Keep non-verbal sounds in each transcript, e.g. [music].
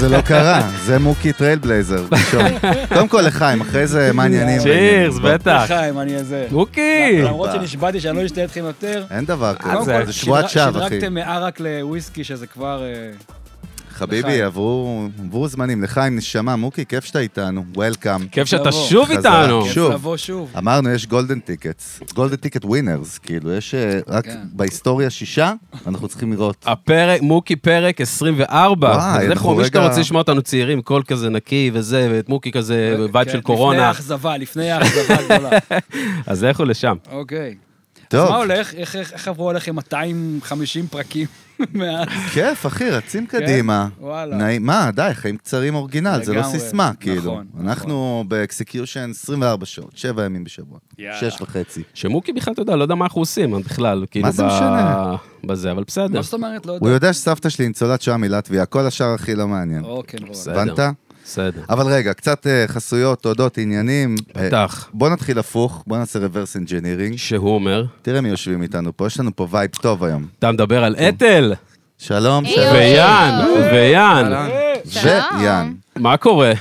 זה לא קרה, זה מוקי טריילבלייזר ראשון. קודם כל לחיים, אחרי זה מה העניינים? צ'ירס, בטח. לחיים, אני איזה... רוקי! למרות שנשבעתי שאני לא אשתה אתכם יותר. אין דבר אה, כזה, זה- אוקיי. זה שבועת שווא, אחי. שדרגתם מערק לוויסקי, שזה כבר... אה, חביבי, לחיים. עברו עברו זמנים. לחיים, נשמה, מוקי, כיף שאתה איתנו, וולקאם. כיף שאתה לבוא. שוב חזק. איתנו. כיף שוב. לבוא שוב. אמרנו, יש גולדן טיקטס, גולדן טיקט ווינרס, כאילו, יש אה, רק כן. בהיסטוריה שישה, אנחנו צריכים לראות. הפרק, מוקי פרק 24. וואי, אז איך אנחנו אומרים רגע- שאתה רוצה לשמוע אותנו צעירים, קול כזה נקי וזה, ואת מוקי אה, כזה, וייב כן, של לפני קורונה, האכזבה, לפני האכזבה [laughs] הגדולה. אז לכו לשם. אוקיי. אז מה טוב, הולך? איך- איך איך עברו עליכם 250 פרקים [laughs] [laughs] מאז? כיף, אחי, רצים קדימה. כן. וואלה. נעים, מה, די, חיים קצרים אורגינל, זה לא לגמרי. סיסמה, נכון, כאילו. נכון. אנחנו באקסקיושן 24 שעות, 7 ימים בשבוע, יאללה. 6 וחצי. שמוקי בכלל, אתה יודע, לא יודע מה אנחנו עושים בכלל, כאילו, זה ב- משנה? בזה, אבל בסדר. מה זאת אומרת? לא יודע. הוא יודע שסבתא שלי ניצולת שואה מלטביה, כל השאר הכי לא מעניין. או, כן, וואלה. בסדר. הבנת? בסדר. אבל רגע, קצת אה, חסויות, תודות, עניינים. אה, בטח. בוא נתחיל הפוך, בוא נעשה reverse engineering. שהוא אומר, תראה מי יושבים איתנו פה, יש לנו פה וייב טוב היום. אתה מדבר אה. על אתל, שלום, היי, שלום. אוי. ויאן, אה. ויאן. אה. שלום. ויאן. מה קורה?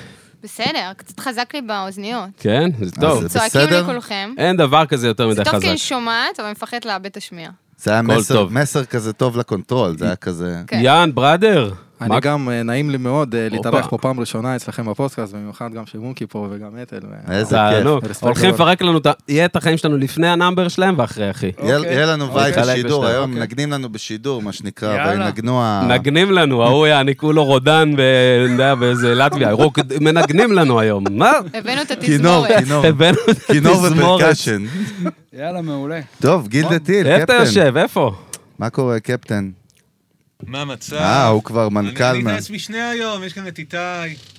בסדר, קצת חזק לי באוזניות. כן? זה אז טוב. אה, זה צועקים בסדר? לי כולכם. אין דבר כזה יותר זה מדי טוב כי אני חזק. שומעת, אבל מפחדת לאבד את השמיעה. זה היה הכל מסר- טוב. מסר כזה טוב לקונטרול, זה היה כזה... כן. יאן, בראדר. אני מה- גם, אה, נעים לי מאוד אה, להתארח הופה. פה פעם ראשונה אצלכם בפודקאסט, במיוחד גם שמוקי פה וגם אה, אתל. ו- איזה אה, כיף. תענוג. רספקט הולכים גדול. לפרק לנו, את ה- יהיה את החיים שלנו לפני הנאמבר שלהם ואחרי, אחי. יהיה- אוקיי. יהיה לנו וייב אוקיי. בשידור, אוקיי. היום מנגנים לנו בשידור, מה שנקרא, יאללה. וינגנו ה... מנגנים לנו, ההוא יעניקו לו רודן ב- אני יודע, באיזה לטביה, רוק, מנגנים לנו היום, מה? הבאנו את כינור, התזמורת. כינור. הבאנו את כינור התזמורת. ופרקשן. יאללה, מעולה. טוב, גיל דתיל, איפה אתה קפטן. יושב, איפה? מה קורה, קפטן? מה המצב? אה, הוא כבר מנכ"ל. אני מה- טייס משנה היום, יש כאן את איתי.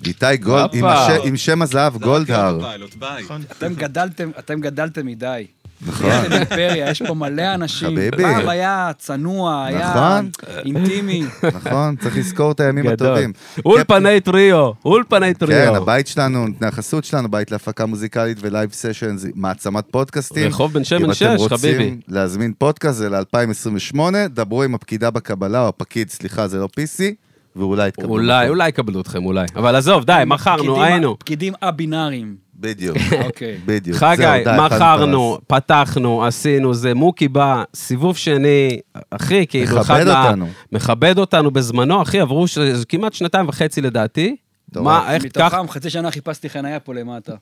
איתי גולד, עם הופה. לא, השם- עם שם הזהב גולדהר. פיילוט, ביי. אתם גדלתם, אתם גדלתם מדי. לא. נכון. יש לנו אימפריה, יש פה [laughs] מלא אנשים. חביבי. פעם היה צנוע, היה נכון. [laughs] אינטימי. נכון, צריך לזכור את הימים גדול. הטובים. אולפני טריו, אולפני טריו. כן, הבית שלנו, החסות שלנו, בית להפקה מוזיקלית ולייב סשן, מעצמת פודקאסטים. רחוב בן שמן שש, אם אתם חביבי. רוצים להזמין פודקאסט, זה ל-2028, דברו עם הפקידה בקבלה, או הפקיד, סליחה, זה לא PC, ואולי יתקבלו. אולי, אולי יקבלו אתכם, אולי. אבל עזוב, די, מכרנו, פקידים- היינו. פקידים א-בינאריים. בדיוק, אוקיי. בדיוק. זהו, חגי, די, אכלנו את מכרנו, פתחנו, עשינו זה, מוקי בא, סיבוב שני, אחי, כאילו, אחד מכבד מה- אותנו. מכבד אותנו בזמנו, אחי, עברו ש- כמעט שנתיים וחצי לדעתי. מטורף. מה, איך, קח, מתוכם חצי שנה חיפשתי חניה פה למטה.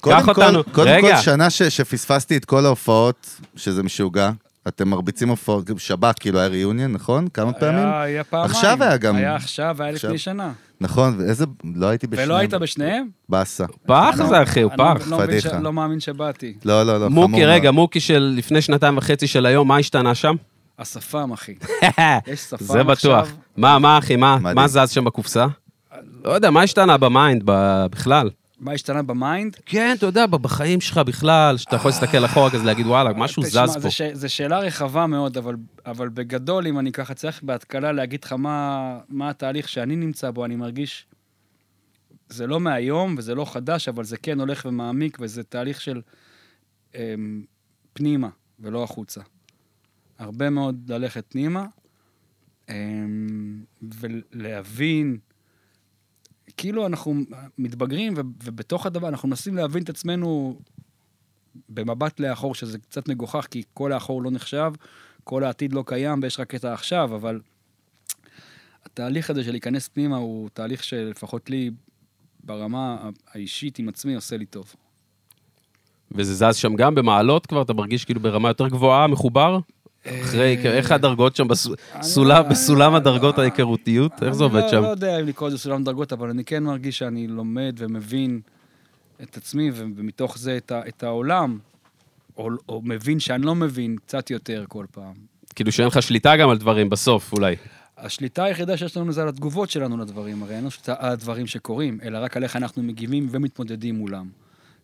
קודם קח אותנו. כל, קודם כל, רגע. שנה ש, שפספסתי את כל ההופעות, שזה משוגע. אתם מרביצים הופעות, גם שבת, כאילו היה ריאיוניון, נכון? כמה פעמים? היה- היה פעמיים. עכשיו היה גם. היה עכשיו, היה עכשיו. לפני שנה. נכון, ואיזה... לא הייתי בשניהם. ולא היית בשניהם? באסה. פח זה, אחי, הוא אני לא- פח. לא מבין ש- פדיחה. לא מאמין שבאתי. לא, לא, לא, חמור מוקי, רגע, מוקי של לפני שנתיים וחצי של היום, מה השתנה [laughs] שם? השפם, אחי. יש שפם זה עכשיו. בטוח. מה, מה, אחי, מה, מדהים. מה זז שם בקופסה? לא יודע, מה השתנה במיינד ב- בכלל? מה השתנה במיינד? כן, אתה יודע, בחיים שלך בכלל, שאתה יכול להסתכל אחורה כזה, להגיד, וואלה, משהו תשמע, זז זה פה. ש- זו שאלה רחבה מאוד, אבל, אבל בגדול, אם אני ככה צריך בהתקלה להגיד לך מה, מה התהליך שאני נמצא בו, אני מרגיש... זה לא מהיום וזה לא חדש, אבל זה כן הולך ומעמיק, וזה תהליך של אמ, פנימה ולא החוצה. הרבה מאוד ללכת פנימה, אמ, ולהבין, כאילו אנחנו מתבגרים, ו- ובתוך הדבר אנחנו מנסים להבין את עצמנו במבט לאחור, שזה קצת מגוחך, כי כל האחור לא נחשב, כל העתיד לא קיים ויש רק את העכשיו, אבל התהליך הזה של להיכנס פנימה הוא תהליך שלפחות לי, ברמה ה- האישית עם עצמי, עושה לי טוב. וזה זז שם גם במעלות כבר, אתה מרגיש כאילו ברמה יותר גבוהה, מחובר? אחרי, אה, איך הדרגות שם, בסו- סולם- בסולם הדרגות ההיכרותיות? איך זה עובד לא- אני שם? לא, לא יודע אם לקרוא לזה סולם דרגות, אבל אני כן מרגיש שאני לומד ומבין את עצמי, ו- ומתוך זה את, ה- את העולם, או, או מבין שאני לא מבין קצת יותר כל פעם. כאילו שאין לך שליטה גם על דברים בסוף, אולי. השליטה היחידה שיש לנו זה על התגובות שלנו לדברים, הרי אין לנו שליטה על הדברים שקורים, אלא רק על איך אנחנו מגיבים ומתמודדים מולם.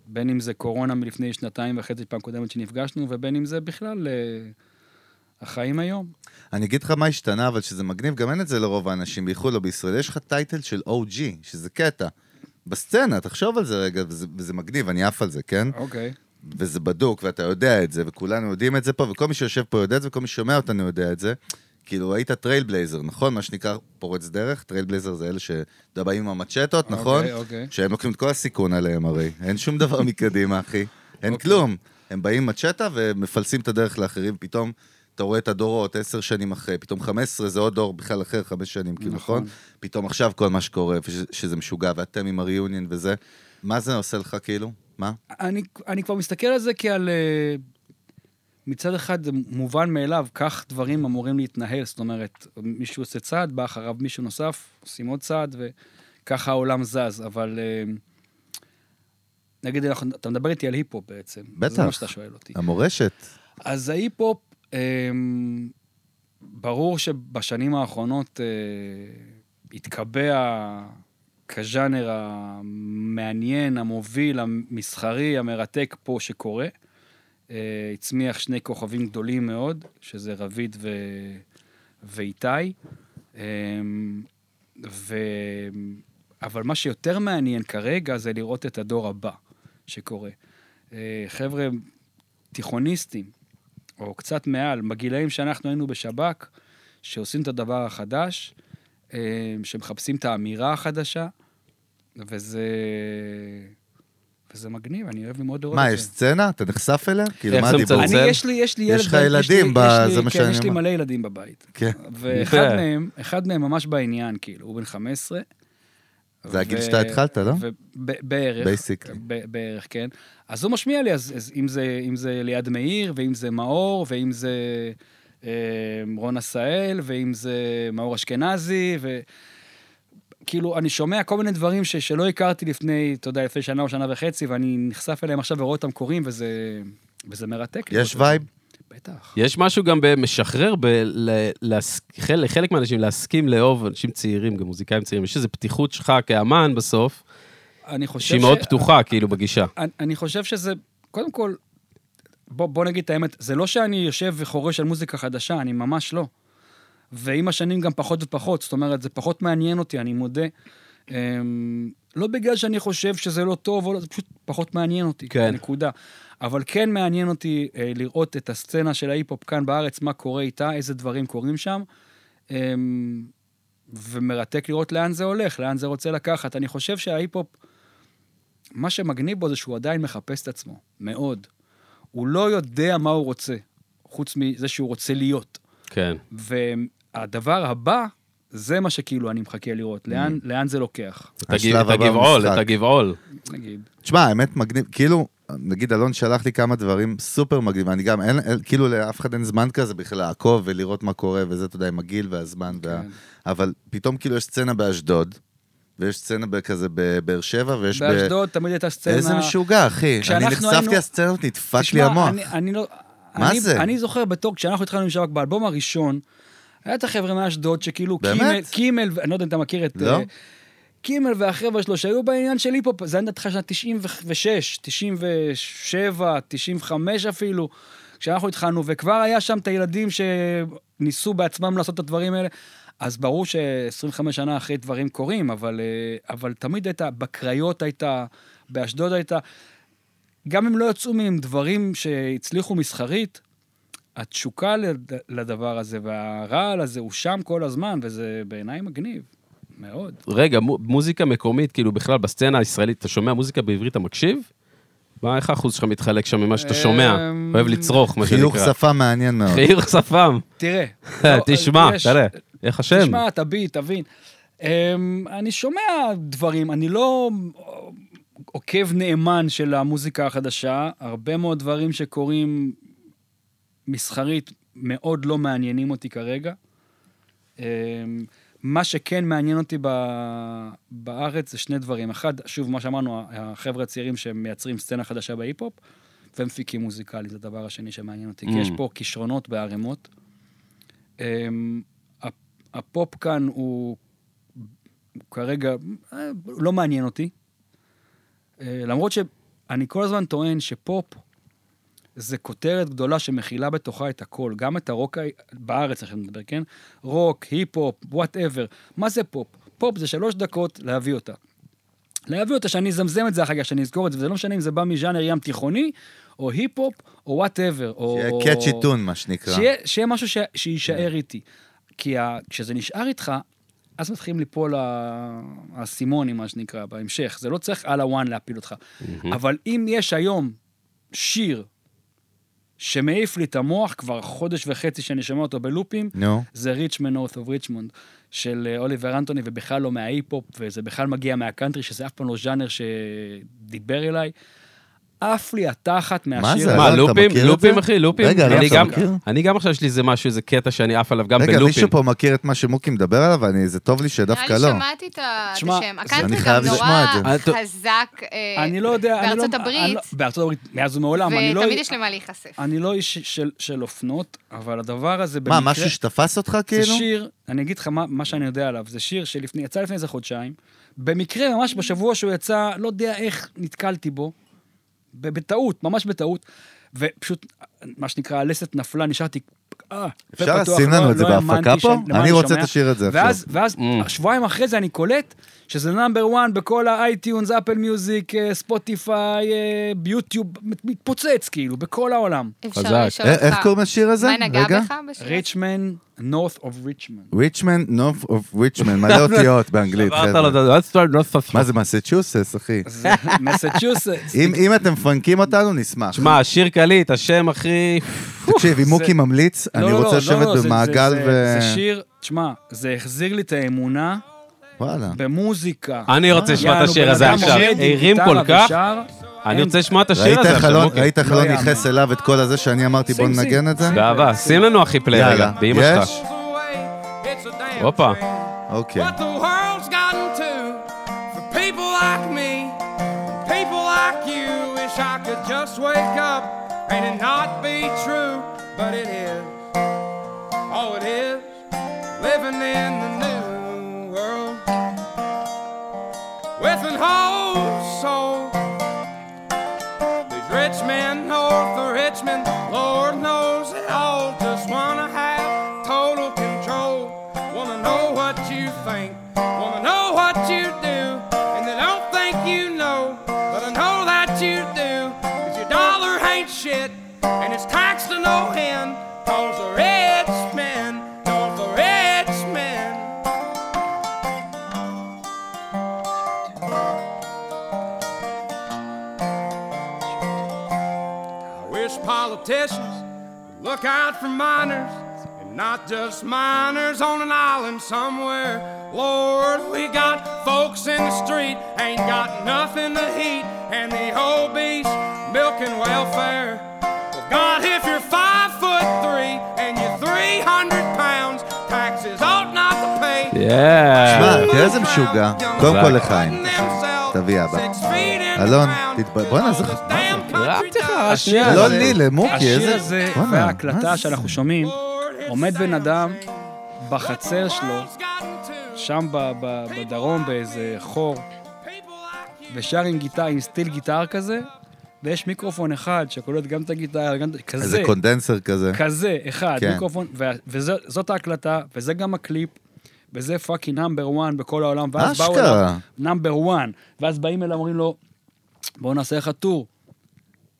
בין אם זה קורונה מלפני שנתיים וחצי פעם קודמת שנפגשנו, ובין אם זה בכלל אה, החיים היום. אני אגיד לך מה השתנה, אבל שזה מגניב, גם אין את זה לרוב האנשים, בייחוד לא בישראל. יש לך טייטל של OG, שזה קטע. בסצנה, תחשוב על זה רגע, וזה, וזה מגניב, אני עף על זה, כן? אוקיי. וזה בדוק, ואתה יודע את זה, וכולנו יודעים את זה פה, וכל מי שיושב פה יודע את זה, וכל מי ששומע אותנו יודע את זה. כאילו, היית טרייל בלייזר, נכון? מה שנקרא פורץ דרך, טרייל בלייזר זה אלה שאתה יודע, באים עם המצ'טות, נכון? אוקיי, אוקיי. שהם לוקחים את כל הסיכון עליהם הרי. אין שום דבר מקדימה, אחי. אין אוקיי. כלום. הם באים עם מצ'טה ומפלסים את הדרך לאחרים, פתאום אתה רואה את הדורות עשר שנים אחרי, פתאום חמש עשרה זה עוד דור בכלל אחר, חמש שנים, כאילו, נכון? נכון. פתאום עכשיו כל מה שקורה, וש- שזה משוגע, ואתם עם הריאיוניון וזה, מה זה עושה לך כאילו? מה? אני, אני כבר מסתכל על זה כעל... אה, מצד אחד זה מובן מאליו, כך דברים אמורים להתנהל, זאת אומרת, מישהו עושה צעד, בא אחריו מישהו נוסף, עושים עוד צעד, וככה העולם זז, אבל... אה, נגיד, אנחנו, אתה מדבר איתי על היפ-הופ בעצם. זה מה בטח. שאתה שואל אותי. המורשת. אז ההיפ-הופ, אמ, ברור שבשנים האחרונות אה, התקבע כז'אנר המעניין, המוביל, המסחרי, המרתק פה שקורה. אה, הצמיח שני כוכבים גדולים מאוד, שזה רביד ו... ואיתי. אמ, ו... אבל מה שיותר מעניין כרגע זה לראות את הדור הבא שקורה. אה, חבר'ה תיכוניסטים, או קצת מעל, בגילאים שאנחנו היינו בשב"כ, שעושים את הדבר החדש, אה, שמחפשים את האמירה החדשה, וזה... וזה מגניב, אני אוהב מאוד לראות מה, את יש זה. סצנה? אתה נחשף אליה? כאילו, איך מה זה הדיבור? מצלצל? אני, יש לי, יש לי ילד... יש לך ב- ילדים לי- ב- יש לי- זה מה כן, שאני יש לי אומר. מלא ילדים בבית. כן. ואחד יפה. מהם, אחד מהם ממש בעניין, כאילו, הוא בן 15. זה הגיל ו- שאתה התחלת, לא? ו- ב- בערך. Basically. ב- בערך, כן. אז הוא משמיע לי, אז, אז אם, זה, אם זה ליעד מאיר, ואם זה מאור, ואם זה אה, רון עשהאל, ואם זה מאור אשכנזי, ו... כאילו, אני שומע כל מיני דברים ש, שלא הכרתי לפני, אתה יודע, לפני שנה או שנה וחצי, ואני נחשף אליהם עכשיו ורואה אותם קורים, וזה, וזה מרתק. לראות את יש זה. וייב? בטח. יש משהו גם במשחרר, לחלק מהאנשים להסכים לאהוב אנשים צעירים, גם מוזיקאים צעירים, יש איזו פתיחות שלך כאמן בסוף, אני חושב שהיא מאוד פתוחה כאילו בגישה. אני, אני חושב שזה, קודם כל, בוא, בוא נגיד את האמת, זה לא שאני יושב וחורש על מוזיקה חדשה, אני ממש לא. ועם השנים גם פחות ופחות, זאת אומרת, זה פחות מעניין אותי, אני מודה. אמ, לא בגלל שאני חושב שזה לא טוב, או לא, זה פשוט פחות מעניין אותי, כן. נקודה. אבל כן מעניין אותי אה, לראות את הסצנה של ההיפ-הופ כאן בארץ, מה קורה איתה, איזה דברים קורים שם. אמ, ומרתק לראות לאן זה הולך, לאן זה רוצה לקחת. אני חושב שההיפ-הופ, מה שמגניב בו זה שהוא עדיין מחפש את עצמו, מאוד. הוא לא יודע מה הוא רוצה, חוץ מזה שהוא רוצה להיות. כן. והדבר הבא, זה מה שכאילו אני מחכה Mm-hmm. לראות, לאן, לאן זה לוקח, את הגב- השלב את הבא הגבעול, במשחק. את הגבעול. נגיד. תשמע, האמת מגניב, כאילו, נגיד אלון שלח לי כמה דברים סופר מגניב, אני גם, אין, אין, כאילו לאף אחד אין זמן כזה בכלל לעקוב ולראות מה קורה וזה, אתה יודע, עם הגיל והזמן, וה... כן. אבל פתאום כאילו יש סצנה באשדוד, ויש סצנה כזה בבאר שבע, ויש באשדוד תמיד הייתה ב... סצנה... איזה משוגע, אחי. אני כשאנחנו נחשפתי היינו- לסצנות, נדפק לי תשמע, המוח. אני, אני לא... מה אני, זה? אני זוכר בתור, כשאנחנו התחלנו עם שב"כ, באלבום הראשון, היה את החבר'ה מאשדוד שכאילו... באמת? קימל, קימל, אני לא יודע אם אתה מכיר את... לא. אה, קימל והחבר'ה שלו שהיו בעניין של היפ-הופ, זה היה נתחיל שנת 96, 97, 95 אפילו, כשאנחנו התחלנו, וכבר היה שם את הילדים שניסו בעצמם לעשות את הדברים האלה. אז ברור ש-25 שנה אחרי דברים קורים, אבל, אה, אבל תמיד הייתה, בקריות הייתה, באשדוד הייתה. גם אם לא יצאו מהם דברים שהצליחו מסחרית, התשוקה לד- לדבר הזה והרעל הזה הוא שם כל הזמן, וזה בעיניי מגניב, מאוד. רגע, מו- מוזיקה מקומית, כאילו בכלל בסצנה הישראלית, אתה שומע מוזיקה בעברית, אתה מקשיב? מה, איך האחוז שלך מתחלק שם ממה שאתה שומע? אמ, אוהב לצרוך, מה חיוך שנקרא. שפה מעניין מאוד. חיוך שפם. תראה. [laughs] כן. לא, [laughs] תשמע, יש- תראה, איך השם? תשמע, תביט, תבין. אמ, אני שומע דברים, אני לא עוקב נאמן של המוזיקה החדשה, הרבה מאוד דברים שקורים מסחרית מאוד לא מעניינים אותי כרגע. אמ, מה שכן מעניין אותי ב- בארץ זה שני דברים. אחד, שוב, מה שאמרנו, החבר'ה הצעירים שמייצרים סצנה חדשה בהיפ-הופ, ומפיקים מוזיקלית, זה הדבר השני שמעניין אותי. כי יש פה כישרונות בערימות. אמ, הפ- הפופ כאן הוא הוא כרגע אה, לא מעניין אותי. אה, למרות שאני כל הזמן טוען שפופ זה כותרת גדולה שמכילה בתוכה את הכל, גם את הרוק ה- בארץ, עכשיו נדבר, כן? רוק, היפ-הופ, וואטאבר. מה זה פופ? פופ זה שלוש דקות להביא אותה. להביא אותה, שאני אזמזם את זה אחר כך, שאני אזכור את זה, וזה לא משנה אם זה בא מז'אנר ים תיכוני, או היפ-הופ, או וואטאבר. שיהיה קאצ'י טון, מה שנקרא. כן. שיהיה, שיהיה משהו ש... שיישאר איתי. כי ה- כשזה נשאר איתך, אז מתחילים ליפול ה- האסימונים, מה שנקרא, בהמשך. זה לא צריך על הוואן להפיל אותך. אבל אם יש היום שיר שמעיף לי את המוח כבר חודש וחצי שאני שומע אותו בלופים, נו. זה ריצ'מן אורת אוף ריצ'מונד של אה, אוליבר אנטוני, ובכלל לא מההיפ-הופ, וזה בכלל מגיע מהקאנטרי, שזה אף פעם לא ז'אנר שדיבר אליי. עף לי התחת מהשיר. מה זה? הזה. אלון, מה, אתה לופים? מכיר את לופים, זה? אחי, לופים. רגע, אלון, אני אתה גם- מכיר? אני גם עכשיו יש לי איזה משהו, איזה קטע שאני עף עליו גם רגע, בלופים. מישהו פה מכיר את מה שמוקי מדבר עליו? אני- זה טוב לי שדווקא לא. נראה לי שמעתי את ה- את תשמע, השם. זה- אני הקאנטרי חייב גם לשמוע את נורא זה. חזק אה, אני לא יודע, אני לא... בארצות אני הברית, לא- בארצות הברית, מאז ומעולם. אני לא- ותמיד יש למה להיחשף. אני לא איש של- של אופנות, אבל הדבר הזה מה, במקרה... משהו שתפס אותך כאילו? זה שיר, אני אגיד לך מה, מה שאני יודע עליו, זה שיר שיצא לפני איזה חודשיים. במקרה, ממש בשבוע שהוא יצא, לא יודע איך נתקלתי בו, ב- בטעות, ממש בטעות, ופשוט, מה שנקרא, הלסת נפלה, נשארתי... אה, פה אפשר פתוח, לשים לא- לנו את זה לא האמנתי בהפקה פה? שאני- למה אני רוצה שומע. את השיר הזה עכשיו. ואז, ואז Mm. שבועיים אחרי זה אני קולט שזה נאמבר 1 בכל האייטיונס, אפל מיוזיק, אה, ספוטיפיי, אה, ביוטיוב, מת- מתפוצץ כאילו, בכל העולם. חזק. אפשר לשאול אה, איך אותך, קוראים לשיר הזה? מה נגע רגע. בך בשיר? הזה? ריצ'מן, north of richmond. ריצ'מן, נוף אוף ריצ'מן, [laughs] לא, מלא אותיות באנגלית, עברת חבר'ה. לו את זה, אל תסתובב, לא תסתובב. מה זה מסצ'וסס, אחי? זה [laughs] מסצ'וסטס. אם אם אתם מפנקים אותנו, נשמח. שמע, שיר קליט, השם הכי... תקשיב, אם זה- מוקי ממליץ, לא, אני לא, רוצה לא, לשבת לא, זה- זה- במעגל זה- ו... זה שיר, תשמע, זה החזיר לי את האמונה וואלה. במוזיקה. אני רוצה לשמוע את יענו, אה, בן השיר הזה אדם עכשיו. עומד עם הרים גיטרה כל כך, ושר, אני אין- רוצה לשמוע את השיר ראית הזה איך עכשיו, אלון- מוקי. ראית איך לא אלון יאמן. ייחס אליו את כל הזה שאני אמרתי, בוא שים, שים, ננגן את זה? שים. באהבה, שים לנו אחי פליי רגע, יאללה, באמא שלך. יש? הופה. אוקיי. What the world's gotten to for people like me, people like you. Wish I could just wake up and it not be true, but it is. Oh, it is. Living in the new world with an whole soul. These rich men north of Richmond, Lord knows they all just wanna have total control. Wanna know what you think, wanna know what you do, and they don't think you know, but I know that you do. 'Cause your dollar ain't shit, and it's taxed to no end. Cause the rich men, cause the rich men. I wish politicians would look out for miners and not just miners on an island somewhere. Lord, we got folks in the street, ain't got nothing to eat, and the obese milking welfare. Well, God, if you're five foot three and you're 300 pounds, taxes ought not to pay. יאה. שמע, תראה איזה משוגע. קודם כל לחיים. תביא תביא אבא. אבא. אלון, אלון, תתב- בואנה, בואנה, זה זה חכם. הרמתי לך, שנייה. לא הזה- לי, למוקי, השיר איזה... הזה וואלה, מה וההקלטה זה? שאנחנו שומעים, עומד בן אדם בחצר שלו, שם ב- ב- בדרום באיזה חור, ושר עם גיטר, עם סטיל גיטר כזה, ויש מיקרופון אחד שקולט גם את הגיטר, גם את... איזה כזה, קונדנסר כזה. כזה, אחד, כן. מיקרופון, וה- וזאת ההקלטה, וזה גם הקליפ, וזה פאקינג נאמבר 1 בכל העולם, ואז באו אליו, אשכרה. נאמבר 1, ואז באים אליו, אומרים לו, בואו נעשה לך טור,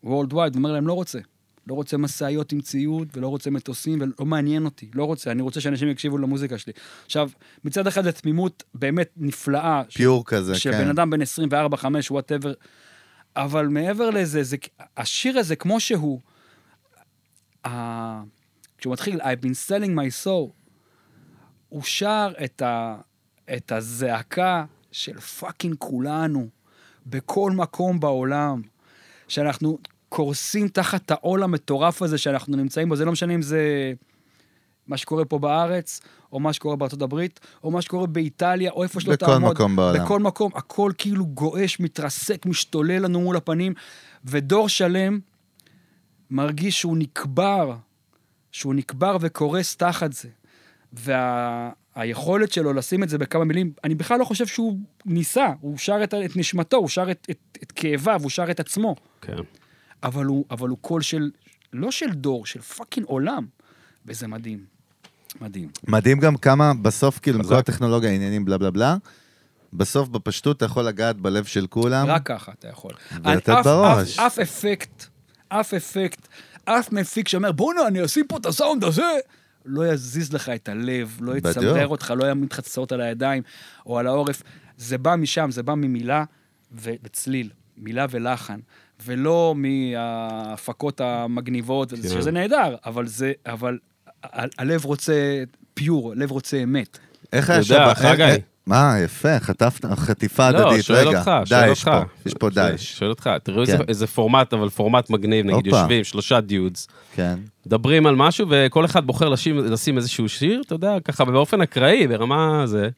וולד ווייד, הוא אומר להם, לא רוצה. לא רוצה משאיות עם ציוד, ולא רוצה מטוסים, ולא מעניין אותי, לא רוצה, אני רוצה שאנשים יקשיבו למוזיקה שלי. עכשיו, מצד אחד זו תמימות באמת נפלאה. ש- פיור כזה, כן. שבן אדם בן 24, 5, וואטאבר. אבל מעבר לזה, זה, השיר הזה כמו שהוא, ה- כשהוא מתחיל, I've been selling my soul, הוא שר את, ה, את הזעקה של פאקינג כולנו, בכל מקום בעולם, שאנחנו קורסים תחת העול המטורף הזה שאנחנו נמצאים בו, זה לא משנה אם זה... מה שקורה פה בארץ, או מה שקורה בארצות הברית, או מה שקורה באיטליה, או איפה שלא בכל תעמוד. מקום בעולם. בכל מקום, הכל כאילו גועש, מתרסק, משתולל לנו מול הפנים, ודור שלם מרגיש שהוא נקבר, שהוא נקבר וקורס תחת זה. והיכולת שלו לשים את זה בכמה מילים, אני בכלל לא חושב שהוא ניסה, הוא שר את, ה- את נשמתו, הוא שר את, את, את כאביו, הוא שר את עצמו. כן. אבל הוא, אבל הוא קול של, לא של דור, של פאקינג עולם. וזה מדהים. מדהים. מדהים גם כמה בסוף, כאילו, עם נכון. כל הטכנולוגיה, עניינים, בלה בלה בלה, בסוף בפשטות אתה יכול לגעת בלב של כולם. רק ככה אתה יכול. ולתת אף- אף- בראש. אף אפקט, אף אפקט, אף מפיק שאומר, בואנה, אני אשים פה את הסאונד הזה, לא יזיז לך את הלב, לא בדיוק. יצמרר אותך, לא יעמיד לך צעות על הידיים או על העורף. זה בא משם, זה בא ממילה ו- וצליל, מילה ולחן, ולא מההפקות המגניבות, כן. שזה נהדר, אבל זה, אבל ה- ה- הלב רוצה פיור, הלב רוצה אמת. איך היה יודע, שבח? חגי. אה, מה, יפה, חטפת, חטיפה הדדית, רגע. לא, שואל אותך, שואל דאעש אותך. פה, יש פה שואל- דאעש, שואל אותך, תראו איזה- כן. איזה פורמט, אבל פורמט מגניב, נגיד הופה. יושבים, שלושה דיודס, כן. מדברים על משהו, וכל אחד בוחר לשים, לשים איזשהו שיר, אתה יודע, ככה באופן אקראי, ברמה זה.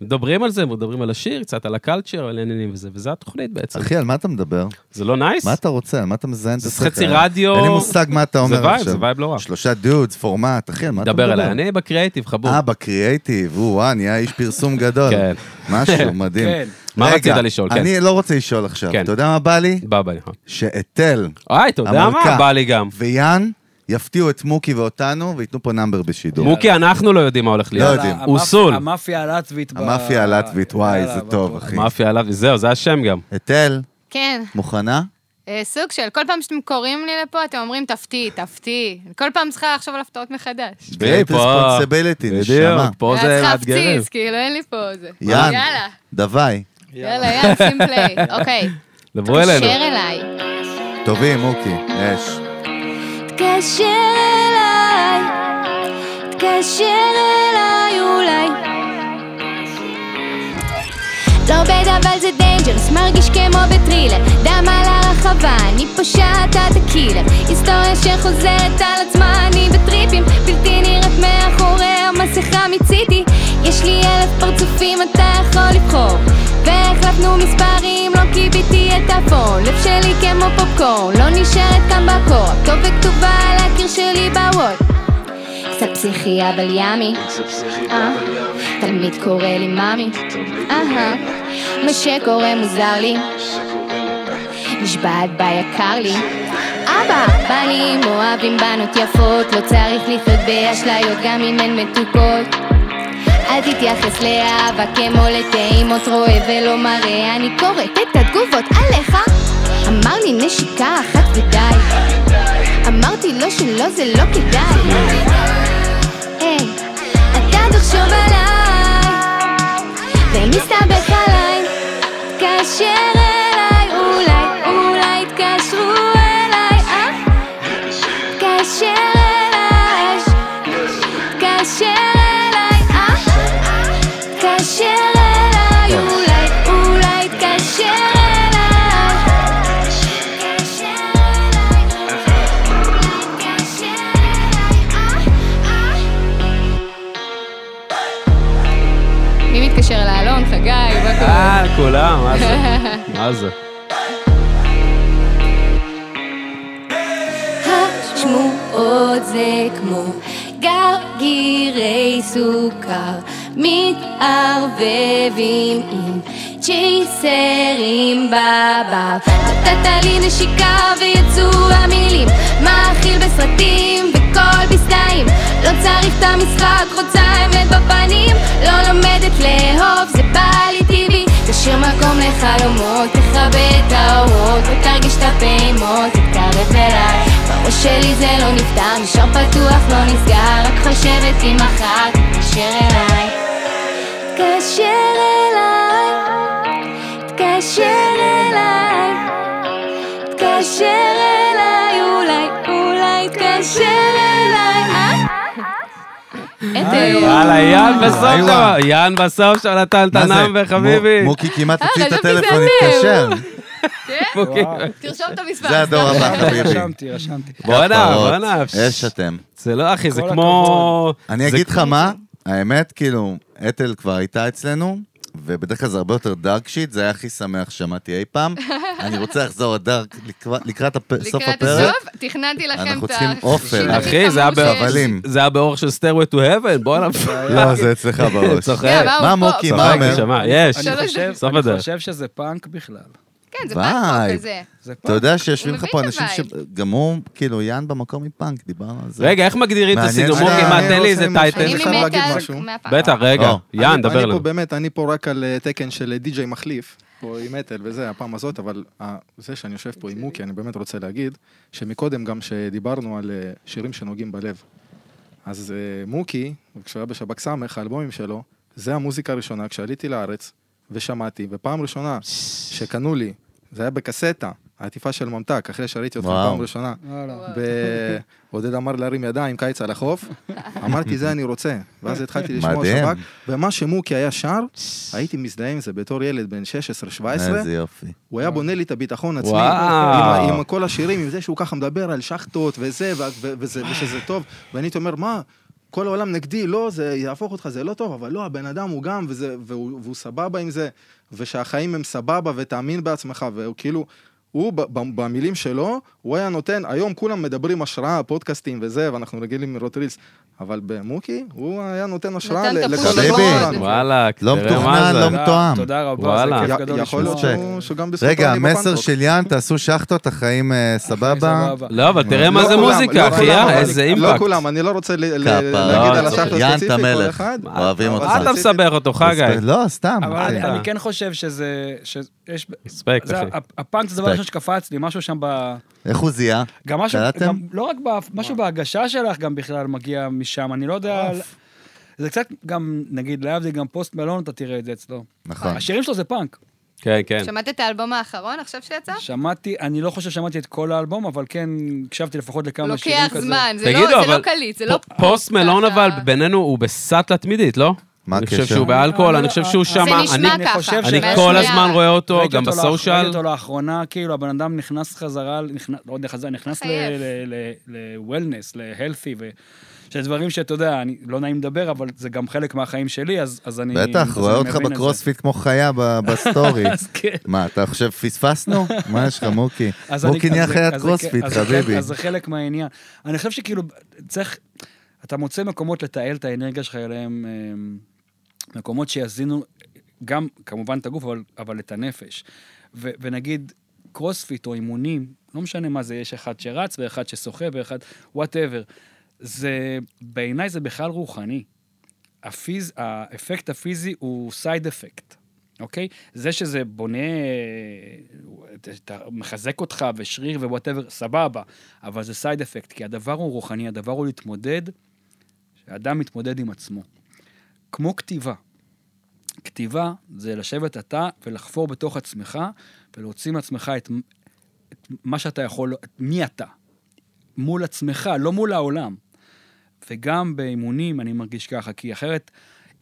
מדברים על זה, מדברים על השיר, קצת על הקלצ'ר, על העניינים וזה, וזה התוכנית בעצם. אחי, על מה אתה מדבר? זה לא נייס? מה אתה רוצה? על מה אתה מזיין את זה השכל? חצי רדיו- אין לי מושג מה אתה זה אומר וייב, עכשיו. זה וייב לא רע. שלושה דודס, פורמט, אחי, על מה אתה מדבר? דבר אליי, אני בקריאייטיב, חבור. אה, בקריאייטיב, הוא וואה, נהיה איש פרסום גדול. כן. משהו מדהים. כן. מה רגע, רצית לשאול? כן. אני לא רוצה לשאול עכשיו. כן. אתה יודע מה בא לי? בא, בא, נכון. שאתל, אה, אתה יודע מה? המלכה. בא לי גם. ויאן יפתיעו את מוקי ואותנו וייתנו פה נאמבר בשידור. מוקי, אנחנו לא יודעים מה הולך להיות. יודעים. המאפ- הוא סול. המאפיה הלטבית. ב- המאפיה הלטבית, וואי, יאללה, זה בטוח. טוב, אחי. מאפיה עליו, זהו, זה השם גם. אתל, כן, מוכנה? אה, סוג של, כל פעם שאתם קוראים לי לפה, אתם אומרים, תפתיע, תפתיע. כל פעם צריכה לחשוב על הפתעות מחדש. Great פה- responsibility, נשמה. בדיוק, פה ואז זה צריכה מאתגרים. להפציץ, כאילו, אין לי פה זה. יאן, יאללה, דווי. יאללה, יאללה, שים פליי. אוקיי, דברו אלינו. תקשר אליי. טובים, מוקי, יש. תתקשר אליי, תתקשר אליי אולי. לא בית אבל זה דיינג'רס, מרגיש כמו בטרילר דם על הרחבה, אני פושעת עד הקילר היסטוריה שחוזרת על עצמה, אני בטריפים בלתי נראית מאחורי המסכה מצידי יש לי אלף פרצופים, אתה יכול לבחור והחלפנו מספרים, לא קיביתי את הפון לב שלי כמו פופקורן, לא נשארת כאן בקור הכתוב וכתובה על הקיר שלי בוואט קצת פסיכי אבל ימי אה, תלמיד קורא לי מאמי אהה, מה שקורה מוזר לי נשבעת ביקר לי אבא, בנים אוהבים בנות יפות לא צריך לחיות באשליות גם אם הן מתוקות אל תתייחס לאהבה כמו לטעימות רואה ולא מראה אני קוראת את התגובות עליך אמר לי נשיקה אחת ודי אמרתי לו שלא זה לא כדאי היי, אתה תחשוב עליי ומסתבך עליי תתקשר אליי אולי אולי תתקשרו אליי אה? תתקשר אליי תתקשר אליי אה? תתקשר אליי אולי אולי תתקשר אליי תתקשר אליי תתקשר אליי אה? אה? מי מתקשר אליי? אלון, חגי, מה קורה? אה, כולם, מה [laughs] זה? מה זה? השמועות זה כמו גרגירי סוכר מתערבבים עם צ'ייסרים בבר נתת לי נשיקה ויצאו המילים מאכיל בסרטים וכל בסלעים לא צריך את המשחק, רוצה אמת בפנים לא לומדת לאהוב, זה בא לי טבעי תשאיר מקום לחלומות, תכבה את האורות ותרגיש את הפעימות, תתקרב אליי בראש שלי זה לא נפתר, נשאר פתוח, לא נסגר רק חושבת אם מחר תתקשר אליי תתקשר אליי תתקשר אליי תתקשר אליי אולי, אולי תתקשר אליי אה? אה, אתם. יאללה, יאן בסוף איווה. שם, יאן בסוף שם נתן את אה, מה זה? הנאמבר, חביבי. מו- מוקי כמעט הוציא את אה, חשבתי זה הטלפון, אתם. התקשר. מוקי. תרשום את המספר. [laughs] זה הדור הבא, חביבי. רשמתי, רשמתי. בואנה, הפרעות. בואנה. יש אתם. זה לא, אחי, זה כל כמו... אני זה- אגיד לך מה, האמת, כאילו, אתל כבר הייתה אצלנו, ובדרך כלל זה הרבה יותר דארק שיט, זה היה הכי שמח ששמעתי אי פעם. אני רוצה לחזור לדארק לקראת- לקראת הפ- סוף לקראת הפרק. הסוף, תכננתי לכם את ה... אנחנו צריכים אופל. אחי, זה היה חמוד באור- שיש לי. חבלים. זה היה באורך של סטיירווי טו האבן, בואנה. לא, [laughs] זה [laughs] אצלך בראש. צוחק. באו מה פה. מוקי, מה צוחק, אומר? נשמה, יש. אני חושב- סוף אני הדרך. חושב שזה פאנק בכלל. כן, זה וואי. פאנק כזה. זה אתה פאנק. יודע שיושבים הוא לך פה מבין אנשים את שגם הוא, כאילו, יען במקום מפאנק, דיברנו על זה. רגע, איך מגדירים את מעניין הסגנון? שאתה- מוקי, מה, אני תן לא עושה לי איזה עם טייטל. אני אני חייב מתה להגיד על משהו. מהפאנק. בטח, רגע. או. יאן, אני- דבר אני פה אלינו. באמת, אני פה רק על אה, תקן של אה, די-ג'יי מחליף, פה עם מטל וזה, הפעם הזאת, אבל אה, זה שאני יושב פה עם מוקי, אני באמת רוצה להגיד, שמקודם גם שדיברנו על אה, שירים שנוגעים בלב. אז אה, מוקי, כשהוא היה בשב"כ ס', האלבומים שלו, זה המוזיקה הראשונה כשעליתי לארץ ושמעתי, ופעם ראשונה שקנו לי, זה היה בקסטה, העטיפה של ממתק, אחרי שראיתי אותך וואו. פעם ראשונה. וואלה. ב- עודד אמר להרים ידיים, קיץ על החוף, אמרתי זה אני רוצה, ואז התחלתי לשמוע מדהים. שב"כ, ומה שמוקי היה שר, הייתי מזדהה עם זה בתור ילד בן 16-17, אה, איזה יופי. הוא אה. היה בונה לי את הביטחון עצמי, עם, וואו. ה- עם כל השירים, עם זה שהוא ככה מדבר על שחטות וזה, ו- ו- וזה, ושזה טוב, ואני הייתי אומר, מה, כל העולם נגדי, לא, זה יהפוך אותך, זה לא טוב, אבל לא, הבן אדם הוא גם, וזה, והוא, והוא סבבה עם זה, ושהחיים הם סבבה, ותאמין בעצמך, והוא כאילו, הוא, ב- ב- במילים שלו, הוא היה נותן, היום כולם מדברים השראה, פודקאסטים וזה, ואנחנו רגילים לראות רילס, אבל במוקי, הוא היה נותן השראה נתן ל- את לכל הפוש חביבי. הדבר הזה. וואלק, לא תראה מה מתוכנן, זה. לא תודה- מתואם. תודה רבה, זה וואלה. כיף י- גדול יכול לשמוע. להיות שהוא- שגם בזכותו רגע, אני המסר בפנפוק. של יאן, תעשו שחטות, החיים אה, סבבה. סבבה. לא, אבל תראה מה לא זה כולם, מוזיקה, לא כולם, אחיה, אבל- איזה לא אימפקט. כולם, אני לא רוצה ל- ל- כפרה. להגיד על לא, השחט יאן, הספציפי, אתה כל מלך. אחד. אוהבים אבל אותך. מה אתה רציתי- מסבך אותו, חגי? לא, סתם. אבל אחי. אני- אתה. אני כן חושב שזה... שיש- ספק, זה אחי. הפ- הפאנק זה הדבר ספק. הראשון שקפץ לי, משהו שם ב... איך הוא זיהה? גם משהו, קלטתם? גם, לא רק, ב, משהו בהגשה שלך גם בכלל מגיע משם, אני לא יודע... על- זה קצת גם, נגיד, להבדיל גם פוסט מלון, אתה תראה את זה אצלו. נכון. השירים שלו זה פאנק. כן, כן. שמעת את האלבום האחרון עכשיו שיצא? שמעתי, אני לא חושב ששמעתי את כל האלבום, אבל כן הקשבתי לפחות לכמה שירים לוקח כזה. זמן, זה תגידו, לא- זה אבל לא קליט, זה לא... פ- פוסט מלון ככה. אבל בינינו הוא בסאטלה תמידית, לא? מה אני חושב הקשר? שהוא באלכוהול, אני חושב שהוא זה שמה, נשמע אני- ככה, חושב אני שזה- כל שנייה. הזמן רואה אותו, ראיתי גם לאח- ראיתי בסושיאל. אותו לאחרונה, כאילו, הבן אדם נכנס חזרה, נכנס- לא יודע, חזרה, נכנס חייב. ל-wellness, ל-healthy, ו... שזה דברים שאתה יודע, אני לא נעים לדבר, אבל זה גם חלק מהחיים שלי, אז, אז אני... אז בטח, רואה אני אותך מבין את זה. בקרוספיט כמו חיה ב- בסטורי. [laughs] אז [laughs] כן. מה, אתה חושב פספסנו? מה יש לך, מוקי? אז אני- מוקי נהיה אז זה- חיית אז זה- קרוספיט, אז זה- חביבי. אז זה חלק מהעניין. אני חושב שכאילו, צריך, אתה מוצא מקומות לתעל את האנרגיה שלך אליהם, אמ, מקומות שיזינו גם, כמובן, את הגוף, אבל, אבל את הנפש. ו, ונגיד, קרוספיט או אימונים, לא משנה מה זה, יש אחד שרץ ואחד ששוחה ואחד, וואטאבר. זה, בעיניי זה בכלל רוחני. הפיז, האפקט הפיזי הוא סייד אפקט, אוקיי? זה שזה בונה, אה, את- את ה- מחזק אותך ושריר ווואטאבר, סבבה, אבל זה סייד אפקט, כי הדבר הוא רוחני, הדבר הוא להתמודד, שאדם מתמודד עם עצמו. כמו כתיבה. כתיבה זה לשבת אתה ולחפור בתוך עצמך ולהוציא מעצמך את, את מה שאתה יכול, את מי אתה. מול עצמך, לא מול העולם. וגם באימונים אני מרגיש ככה, כי אחרת,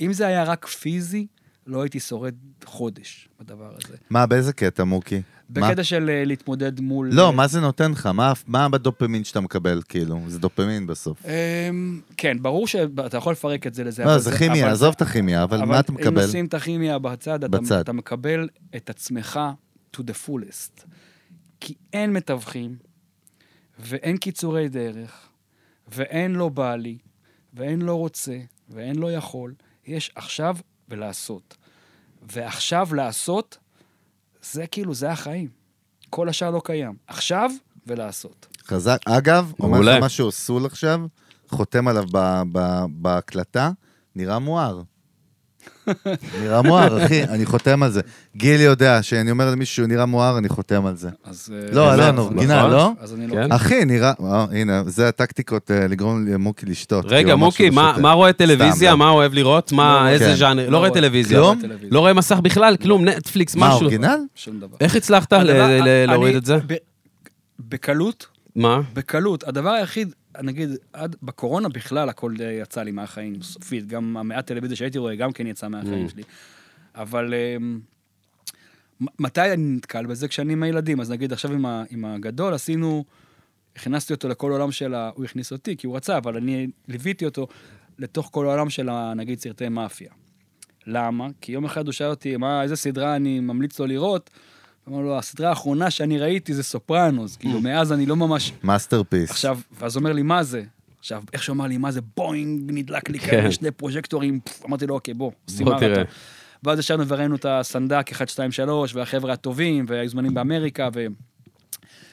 אם זה היה רק פיזי, לא הייתי שורד חודש בדבר הזה. מה, באיזה קטע, מוקי? מה? בקטע של אה, להתמודד מול... לא, מה זה נותן לך? מה- מה בדופמין שאתה מקבל, כאילו? זה דופמין בסוף. אמ, כן, ברור שאתה יכול לפרק את זה לזה. לא, אבל זה כימיה, אבל- עזוב את הכימיה, אבל מה אתה אבל אם מקבל? נשים את הכימיה בצד, אתה- בצד. אתה מקבל את עצמך to the fullest. כי אין מתווכים, ואין קיצורי דרך, ואין לא בא לי, ואין לא רוצה, ואין לא יכול. יש עכשיו ולעשות. ועכשיו לעשות, זה כאילו, זה החיים. כל השאר לא קיים. עכשיו ולעשות. חזק. אגב, אומר מעולה. לך משהו סול עכשיו, חותם עליו ב- ב- בהקלטה, נראה [laughs] מואר. נראה מואר, אחי, אני חותם על זה. גיל יודע, שאני אומר למישהו שהוא נראה מואר, אני חותם על זה. אז... לא, אה, אלון, אז- אורגינל, נכון. לא? אז אני לא... כן. אחי, נראה... אה, הנה, זה הטקטיקות אה, לגרום למוקי לשתות. כי רגע, הוא אמר מוקי, שהוא מה שותה. מה רואה טלוויזיה? סתם, מה אוהב לראות? מה, לא, איזה כן. ז'אנר? לא רואה טלוויזיה. כלום? לא רואה מסך בכלל, כלום, נטפליקס, מה, משהו. אורגינל? שום דבר. איך הצלחת אה, ל- הדבר- ל- אני- להוריד את זה? ב- בקלות, מה? בקלות. הדבר היחיד, נגיד, עד בקורונה בכלל הכל די יצא לי מהחיים, סופית. גם המעט טלוויזיה שהייתי רואה גם כן יצא מהחיים שלי. אבל אמ, מ- מתי אני נתקל בזה? כשאני עם הילדים. אז נגיד עכשיו עם ה- עם הגדול עשינו, הכנסתי אותו לכל עולם של ה... הוא הכניס אותי, כי הוא רצה, אבל אני ליוויתי אותו לתוך כל העולם של ה- נגיד סרטי מאפיה. למה? כי יום אחד הוא שאל אותי, מה, איזה סדרה אני ממליץ לו לראות? אמר לו, הסדרה האחרונה שאני ראיתי זה סופרנוס, כאילו, מאז אני לא ממש... מאסטרפיס. עכשיו, ואז הוא אומר לי, מה זה? עכשיו, איך שהוא אמר לי, מה זה, בוינג, נדלק לי כן. כאלה שני פרוז'קטורים, פפ, אמרתי לו, אוקיי, בוא, סימר בוא תראה. אתה. ואז ישבנו וראינו את הסנדק 1, 2, 3, והחבר'ה הטובים, והיו זמנים באמריקה,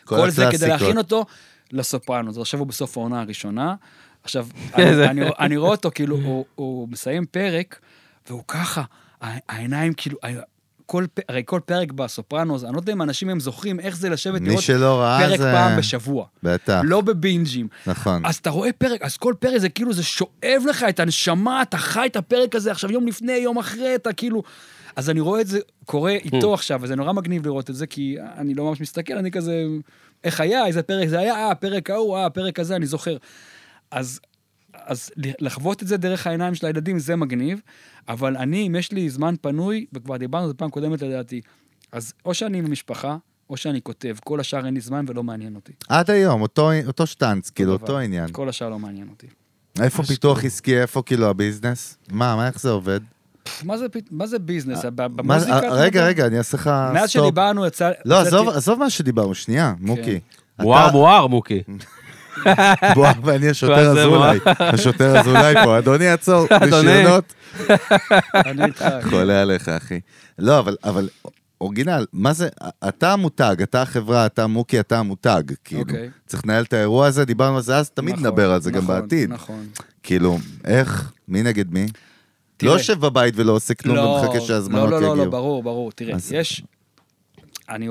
וכל זה כדי הקלאסיקות. להכין אותו לסופרנוס. עכשיו הוא בסוף העונה הראשונה. [laughs] עכשיו, כן, אני, אני, אני רואה אותו, כאילו, הוא, הוא מסיים פרק, והוא ככה, ה- העיניים כאילו, ה- כל, פ- הרי כל פרק בסופרנוס, אני לא יודע אם אנשים הם זוכרים איך זה לשבת מי לראות שלא ראה פרק זה- אה. פעם בשבוע. בטח. לא בבינג'ים. נכון. אז אתה רואה פרק, אז כל פרק זה כאילו, זה שואב לך את הנשמה, אתה חי את הפרק הזה עכשיו, יום לפני, יום אחרי, אתה כאילו... אז אני רואה את זה קורה איתו עכשיו, וזה נורא מגניב לראות את זה, כי אני לא ממש מסתכל, אני כזה, איך היה, איזה פרק זה היה, אה, הפרק ההוא, אה, הפרק הזה, אני זוכר. אז, אז לחוות את זה דרך העיניים של הילדים זה מגניב, אבל אני, אם יש לי זמן פנוי, וכבר דיברנו על זה פעם קודמת לדעתי, אז או שאני עם המשפחה, או שאני כותב, כל השאר אין לי זמן ולא מעניין אותי. עד היום, אותו- אותו שטנץ, כאילו, אותו דבר. עניין. כל השאר לא מעניין אותי. איפה פיתוח עסקי, איפה כאילו הביזנס? מה, מה, איך זה עובד? מה זה, פת- מה זה ביזנס? ב- אה, מה זה- במוזיקה? אתה רגע, מדבר? רגע, אני אעשה לך מאז סטופ. שדיברנו יצא... לא, יצאתי- עזוב, עזוב מה שדיברנו, שנייה, כן. מוקי. אתה- מואר, מואר, מוקי. בוא, ואני השוטר ואז זה אזולאי. השוטר אזולאי פה, אדוני, עצור, רישיונות. אה, אני איתך. חולה עליך, אחי. לא, אבל, אבל אורגינל, מה זה, אתה המותג, אתה החברה, אתה מוקי, אתה המותג. כאילו, אוקיי. צריך לנהל את האירוע הזה, דיברנו על זה אז, תמיד נכון, נדבר על זה גם נכון, בעתיד. נכון. כאילו, איך, מי נגד מי? לא תראה. יושב בבית ולא עושה כלום ומחכה שהזמנות לא, לא, יגיעו. לא, לא, ברור, ברור. תראה, אז- יש... אני...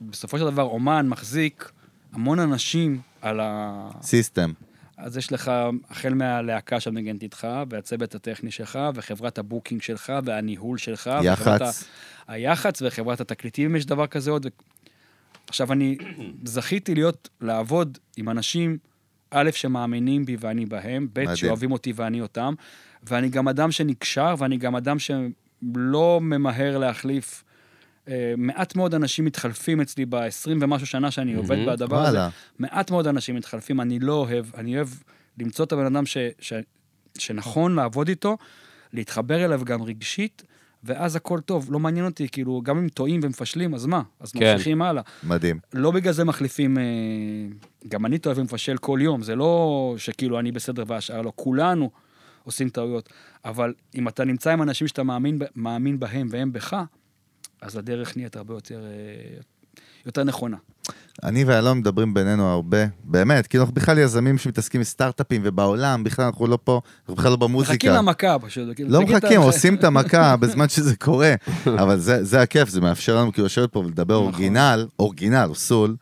בסופו של דבר, אומן מחזיק המון אנשים על ה... סיסטם. אז יש לך, החל מהלהקה שמנגנת איתך, והצוות הטכני שלך, וחברת הבוקינג שלך, והניהול שלך. וחברת יח"צ. ה... היח"צ וחברת התקליטים, אם יש דבר כזה עוד. ו- עכשיו, [clears throat] אני זכיתי להיות, לעבוד עם אנשים, א', שמאמינים בי ואני בהם, ב', מדהים. שאוהבים אותי ואני אותם, ואני גם אדם שנקשר, ואני גם אדם שלא ממהר להחליף. אה, מעט מאוד אנשים מתחלפים אצלי ב-20 ומשהו שנה שאני עובד מהמם. בדבר הזה. וואלה. מעט מאוד אנשים מתחלפים, אני לא אוהב, אני אוהב למצוא את הבן אדם ש, ש, שנכון לעבוד איתו, להתחבר אליו גם רגשית, ואז הכל טוב, לא מעניין אותי, כאילו, גם אם טועים ומפשלים, אז מה? אז כן. כן. ממשיכים הלאה. מדהים. לא בגלל זה מחליפים, אה, גם אני טועה ומפשל כל יום, זה לא שכאילו אני בסדר והשאר לא, כולנו עושים טעויות, אבל אם אתה נמצא עם אנשים שאתה מאמין, ב- מאמין בהם והם בך, אז הדרך נהיית הרבה יותר, אה, יותר נכונה. אני ואלון מדברים בינינו הרבה, באמת, כאילו אנחנו בכלל יזמים שמתעסקים עם סטארט-אפים ובעולם, בכלל אנחנו לא פה, אנחנו בכלל לא מחכים במוזיקה. למכה פשוט. כאילו, לא תגיד את מחכים, ה- עושים [laughs] את המכה בזמן שזה קורה. אבל זה, זה הכיף, זה מאפשר לנו כאילו לשבת פה ולדבר נכון. אורגינל, אורגינל, סול,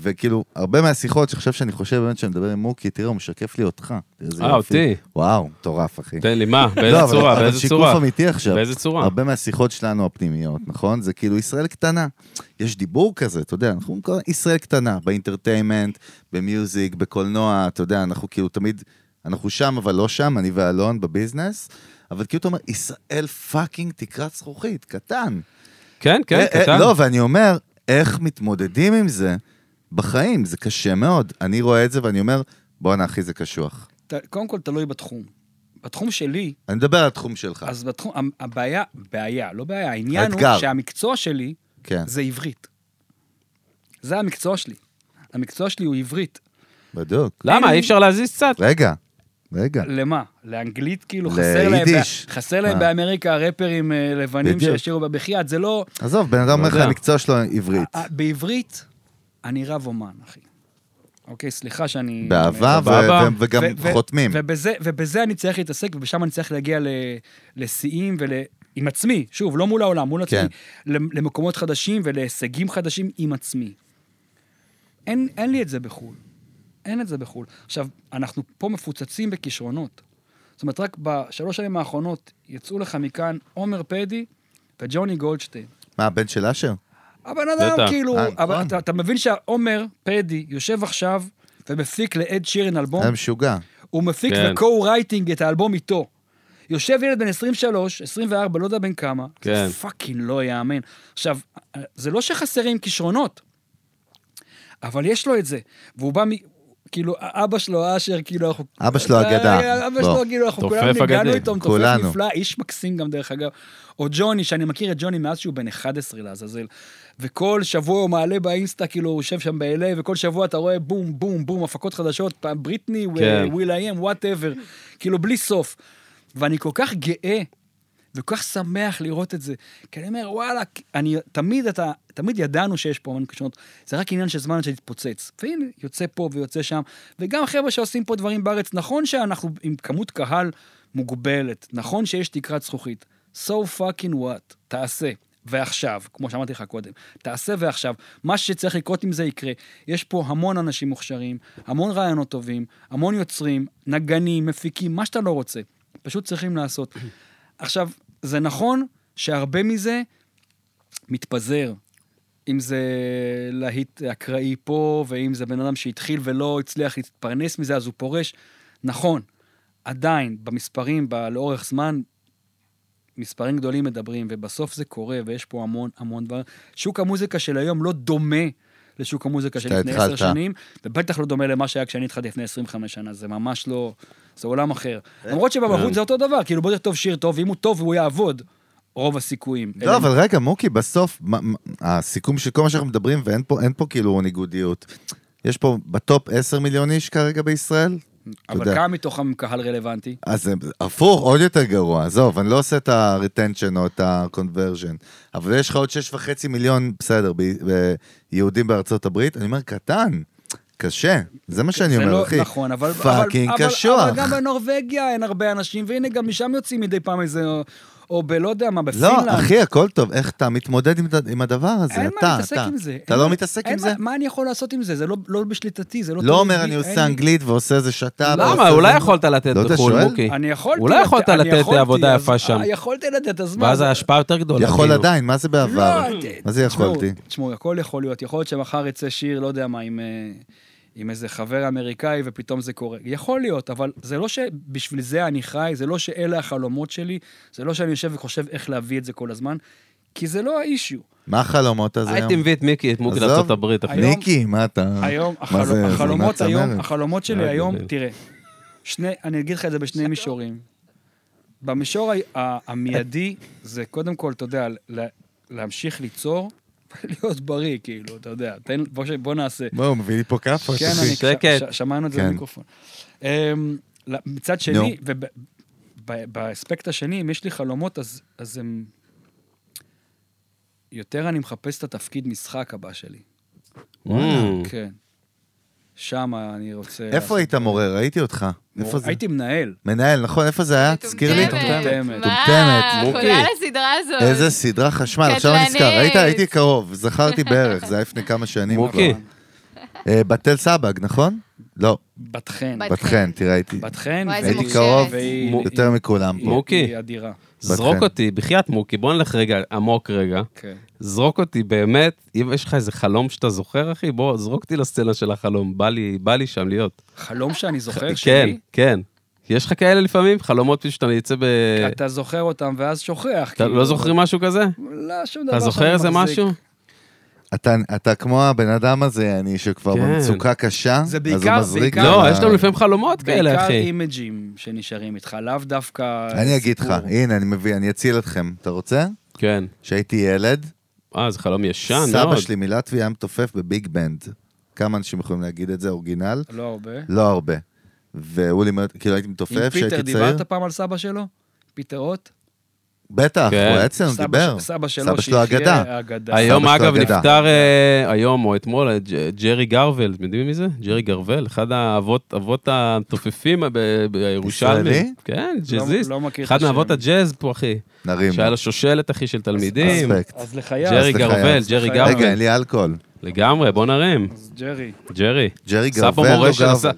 וכאילו, הרבה מהשיחות שעכשיו שאני חושב באמת שאני מדבר עם מוקי, תראה, הוא משקף לי אותך. תראה איזה אה, יופי. אותי? וואו, מטורף, אחי. תן לי, מה? לא, באיזה אבל- צורה? אבל באיזה שיקוף צורה? אמיתי עכשיו. באיזה צורה? הרבה מהשיחות שלנו הפנימיות, נכון? זה כאילו ישראל קטנה. יש דיבור כזה, אתה יודע, אנחנו כל- ישראל קטנה, באינטרטיימנט, במיוזיק, בקולנוע, אתה יודע, אנחנו כאילו תמיד, אנחנו שם אבל לא שם, אני ואלון בביזנס, אבל כאילו אתה אומר, ישראל פאקינג תקרת זכוכית, קטן. כן, כן, אה, אה, קטן. לא, ואני אומר, איך מתמודדים עם זה בחיים? זה קשה מאוד. אני רואה את זה ואני אומר, בואנה אחי, זה קשוח. ת- קודם כל, תלוי בתחום. בתחום שלי, אני מדבר על התחום שלך. אז בתחום, המ- הבעיה, בעיה, לא בעיה, העניין אה. האתגר. הוא שהמקצוע שלי כן, זה עברית. זה המקצוע שלי. המקצוע שלי הוא עברית. בדיוק. למה? אי אפשר להזיז קצת? רגע, רגע. למה? לאנגלית, כאילו, כן. ל- חסר להם... יידיש. בא- חסר להם מה? באמריקה ראפרים אה, לבנים בדיוק. שישירו ב- בחייאת, זה לא... עזוב, בן אדם אומר לך, יודע. המקצוע שלו עברית. אה, בעברית, אני רב אומן, אחי. אוקיי, סליחה שאני... באהבה ו- סבבה. ו- וגם אה, ו- ו- חותמים. ובזה, ובזה אני צריך להתעסק, ובשם אני צריך להגיע ל, לשיאים ול... עם עצמי, שוב, לא מול העולם, מול עצמי, כן. למ- למקומות חדשים ולהישגים חדשים עם עצמי. אין, אין לי את זה בחו"ל. אין את זה בחו"ל. עכשיו, אנחנו פה מפוצצים בכישרונות. זאת אומרת, רק בשלוש שנים האחרונות יצאו לך מכאן עומר פדי וג'וני גולדשטיין. מה, הבן של אשר? הבן אדם, בטח. כאילו, אה, אבל נכון. אתה, אתה מבין שעומר פדי יושב עכשיו ומפיק לאד שירן אלבום? היה משוגע. הוא מפיק כן. וקו-רייטינג את האלבום איתו. יושב ילד בן 23, 24, לא יודע בן כמה, כן. זה פאקינג לא יאמן. עכשיו, זה לא שחסרים כישרונות, אבל יש לו את זה, והוא בא מ... כאילו, אבא שלו, אשר, כאילו, אנחנו... אבא שלו אגדה. אבא בוא. שלו, כאילו, אנחנו תופף כולנו אגדי. נגענו איתו, מתופף כולנו. נפלא, איש מקסים גם, דרך אגב. או ג'וני, שאני מכיר את ג'וני מאז שהוא בן 11 לעזאזל. וכל שבוע הוא מעלה באינסטה, כאילו, הוא יושב שם ב-LA, וכל שבוע אתה רואה בום, בום, בום, הפקות חדשות, פעם בריטני, כן. וויל איי-אם, וואטאבר, כאילו, בלי סוף. ואני כל כך גאה וכל כך שמח לראות את זה. כי אני אומר, וואלה, אני, תמיד אתה, תמיד ידענו שיש פה המון קשרונות, זה רק עניין של זמן עד שתתפוצץ. והנה, יוצא פה ויוצא שם, וגם חבר'ה שעושים פה דברים בארץ, נכון שאנחנו עם כמות קהל מוגבלת, נכון שיש תקרת זכוכית. So fucking what, תעשה. ועכשיו, כמו שאמרתי לך קודם. תעשה ועכשיו. מה שצריך לקרות עם זה יקרה. יש פה המון אנשים מוכשרים, המון רעיונות טובים, המון יוצרים, נגנים, מפיקים, מה שאתה לא רוצה. פשוט צריכים לעשות. עכשיו, זה נכון שהרבה מזה מתפזר. אם זה להיט אקראי פה, ואם זה בן אדם שהתחיל ולא הצליח להתפרנס מזה, אז הוא פורש. נכון, עדיין, במספרים, ב- לאורך זמן, מספרים גדולים מדברים, ובסוף זה קורה, ויש פה המון המון דברים. שוק המוזיקה של היום לא דומה לשוק המוזיקה של שאתה לפני עשר התחלת. שנים, ובטח לא דומה למה שהיה כשאני התחלתי לפני 25 שנה, זה ממש לא... זה עולם אחר. למרות כן. שבמהות זה אותו דבר, כאילו בוא תכתוב שיר טוב, ואם הוא טוב הוא יעבוד, רוב הסיכויים. לא, אבל רגע, מוקי, בסוף, מה- מה- הסיכום של כל מה שאנחנו מדברים, ואין פה אין פה כאילו ניגודיות. יש פה בטופ 10 מיליון איש כרגע בישראל? אתה אבל יודע. כמה מתוכם הם קהל רלוונטי? אז זה הפוך, עוד יותר גרוע. עזוב, אני לא עושה את ה-retension או את ה-conversion, אבל יש לך עוד 6.5 מיליון, בסדר, ב- ב- יהודים בארצות הברית, אני אומר, קטן, קשה, זה מה שאני זה אומר, לא אחי. נכון, אבל... אבל- פאקינג אבל- קשוח. אבל גם בנורבגיה אין הרבה אנשים, והנה, גם משם יוצאים מדי פעם איזה... או- או בלא יודע מה, בפינלנד. לא, אחי, הכל טוב, איך אתה מתמודד עם ד- עם הדבר הזה? אין אתה, מה להתעסק אתה. עם זה. אתה אין לא מה- מתעסק אין עם מה- זה? מה אני יכול לעשות עם זה? זה לא- לא בשליטתי, זה לא... לא תלוי אומר, בי, אני אין לי- עושה אנגלית ועושה איזה שת"פ. למה? ועושה אולי זה." יכולת לתת אה, לא יודע, בחו"ל, שואל. מוקי. אני יכולתי... אולי לתת- יכולת אני לא לתת יכולתי, עבודה אז- אה, יפה שם. יכולתי לתת, אז מה? ואז זה- ההשפעה יותר גדולה. יכול כאילו. עדיין, מה זה בעבר? לא, ת- מה זה תשמעו, יכולתי? תשמעו, הכל יכול להיות. יכול להיות שמחר יצא שיר, לא יודע מה, עם, אה, עם איזה חבר אמריקאי, ופתאום זה קורה. יכול להיות, אבל זה לא שבשביל זה אני חי, זה לא שאלה החלומות שלי, זה לא שאני יושב וחושב איך להביא את זה כל הזמן, כי זה לא האישיו. מה החלומות הזה הייתי היום? מביא את מיקי, את מוקי עזוב. לארה"ב. אחי. היום- ניקי, מה אתה? היום, אה, מה החלומ- זה- זה החלומות מהצמרת. אה, היום, החלומות שלי רק היום, בליל. תראה, שני, אני אגיד לך את זה בשני מישורים. במישור ה- ה- המיידי, זה קודם כל, אתה יודע, ל- להמשיך ליצור ולהיות בריא, כאילו, אתה יודע, תן, בוא, ש- בוא נעשה. מה, הוא מביא לי פה כאפה? כן, אני, ש- שקט. ש- שמענו את זה כן. במיקרופון. אמ, ל- מצד נו. שני, ובאספקט השני, אם יש לי חלומות, אז אז הם... יותר אני מחפש את התפקיד משחק הבא שלי. Mm. כן. שם אני רוצה... לעשות- איפה היית מורה? ראיתי אותך. איפה זה? הייתי מנהל. מנהל, נכון? איפה זה היה? תזכיר לי. מטומטמת. מטומטמת. מה, מוקי. כולל הסדרה הזאת. איזה סדרה חשמל, עכשיו אני נזכר. קטלנית. היית, הייתי קרוב, זכרתי בערך, זה היה לפני כמה שנים. מוקי, כבר. אה, בתל סבג, נכון? לא, בת חן. בת בת חן, תראה, הייתי בת חן. וואי, איזה הייתי מוכשרת. קרוב והיא- יותר מכולם פה. מוקי. היא אדירה. זרוק חן. אותי, בחייאת מוקי, בוא נלך רגע עמוק רגע. כן. זרוק אותי באמת, אם יש לך איזה חלום שאתה זוכר, אחי, בוא, זרוק אותי לסצנה של החלום, בא לי, בא לי שם להיות. חלום שאני [laughs] זוכר כן, שלי, כן. יש לך כאלה לפעמים, חלומות פשוט שאתה יוצא ב... אתה זוכר אותם ואז שוכח. כן. אתה כאילו. לא זוכרים משהו כזה? לא, שום דבר אתה זוכר שאני איזה מחזיק. משהו? אתה- אתה כמו הבן אדם הזה, אני, שכבר כן. במצוקה קשה, זה אז הוא בעיקר- מזריק. בעיקר- לך. לא, יש לנו לפעמים חלומות כאלה, כן. בעיקר אחי. אימג'ים שנשארים איתך, לאו דווקא... אני אגיד לך, סיפור. הנה, אני מביא, אני אציל אתכם. אתה רוצה? כן. כשהייתי ילד, אה, זה חלום ישן מאוד. סבא שלי מלטבי היה מתופף בביג בנד. כמה אנשים יכולים להגיד את זה, אורגינל? לא הרבה. לא הרבה. והוא לימד, כאילו הייתי עם מתופף פיטר כשהייתי צעיר. דיברת פעם על סבא שלו? פיטר רוט? בטח, הוא כן. היה אצלנו, סבא דיבר. ש- סבא שלו, סבא שלו שיחיה, אגדה. אגדה. היום, סבא שלו אגב, אגדה. נפטר, אה, היום או אתמול, אה, ג'- ג'רי גרוול, אתם יודעים מי זה? ג'רי גרוול, אחד האבות אבות המתופפים ב- בירושלמים. ישראלי? כן, ג'אזיסט. לא מכיר את אחד השם. מאבות הג'אז פה, אחי. נרים. שהיה לו שושלת, אחי, של תלמידים. אספקט. אז לחייו. ג'רי כן. אז גרוול, לחייו. ג'רי לחייו. רגע, גרוול. אין לי אלכוהול. לגמרי, בוא נרים. אז ג'רי. ג'רי. ג'רי עשה פה גרוול לא מורשת, גרוול. עשה-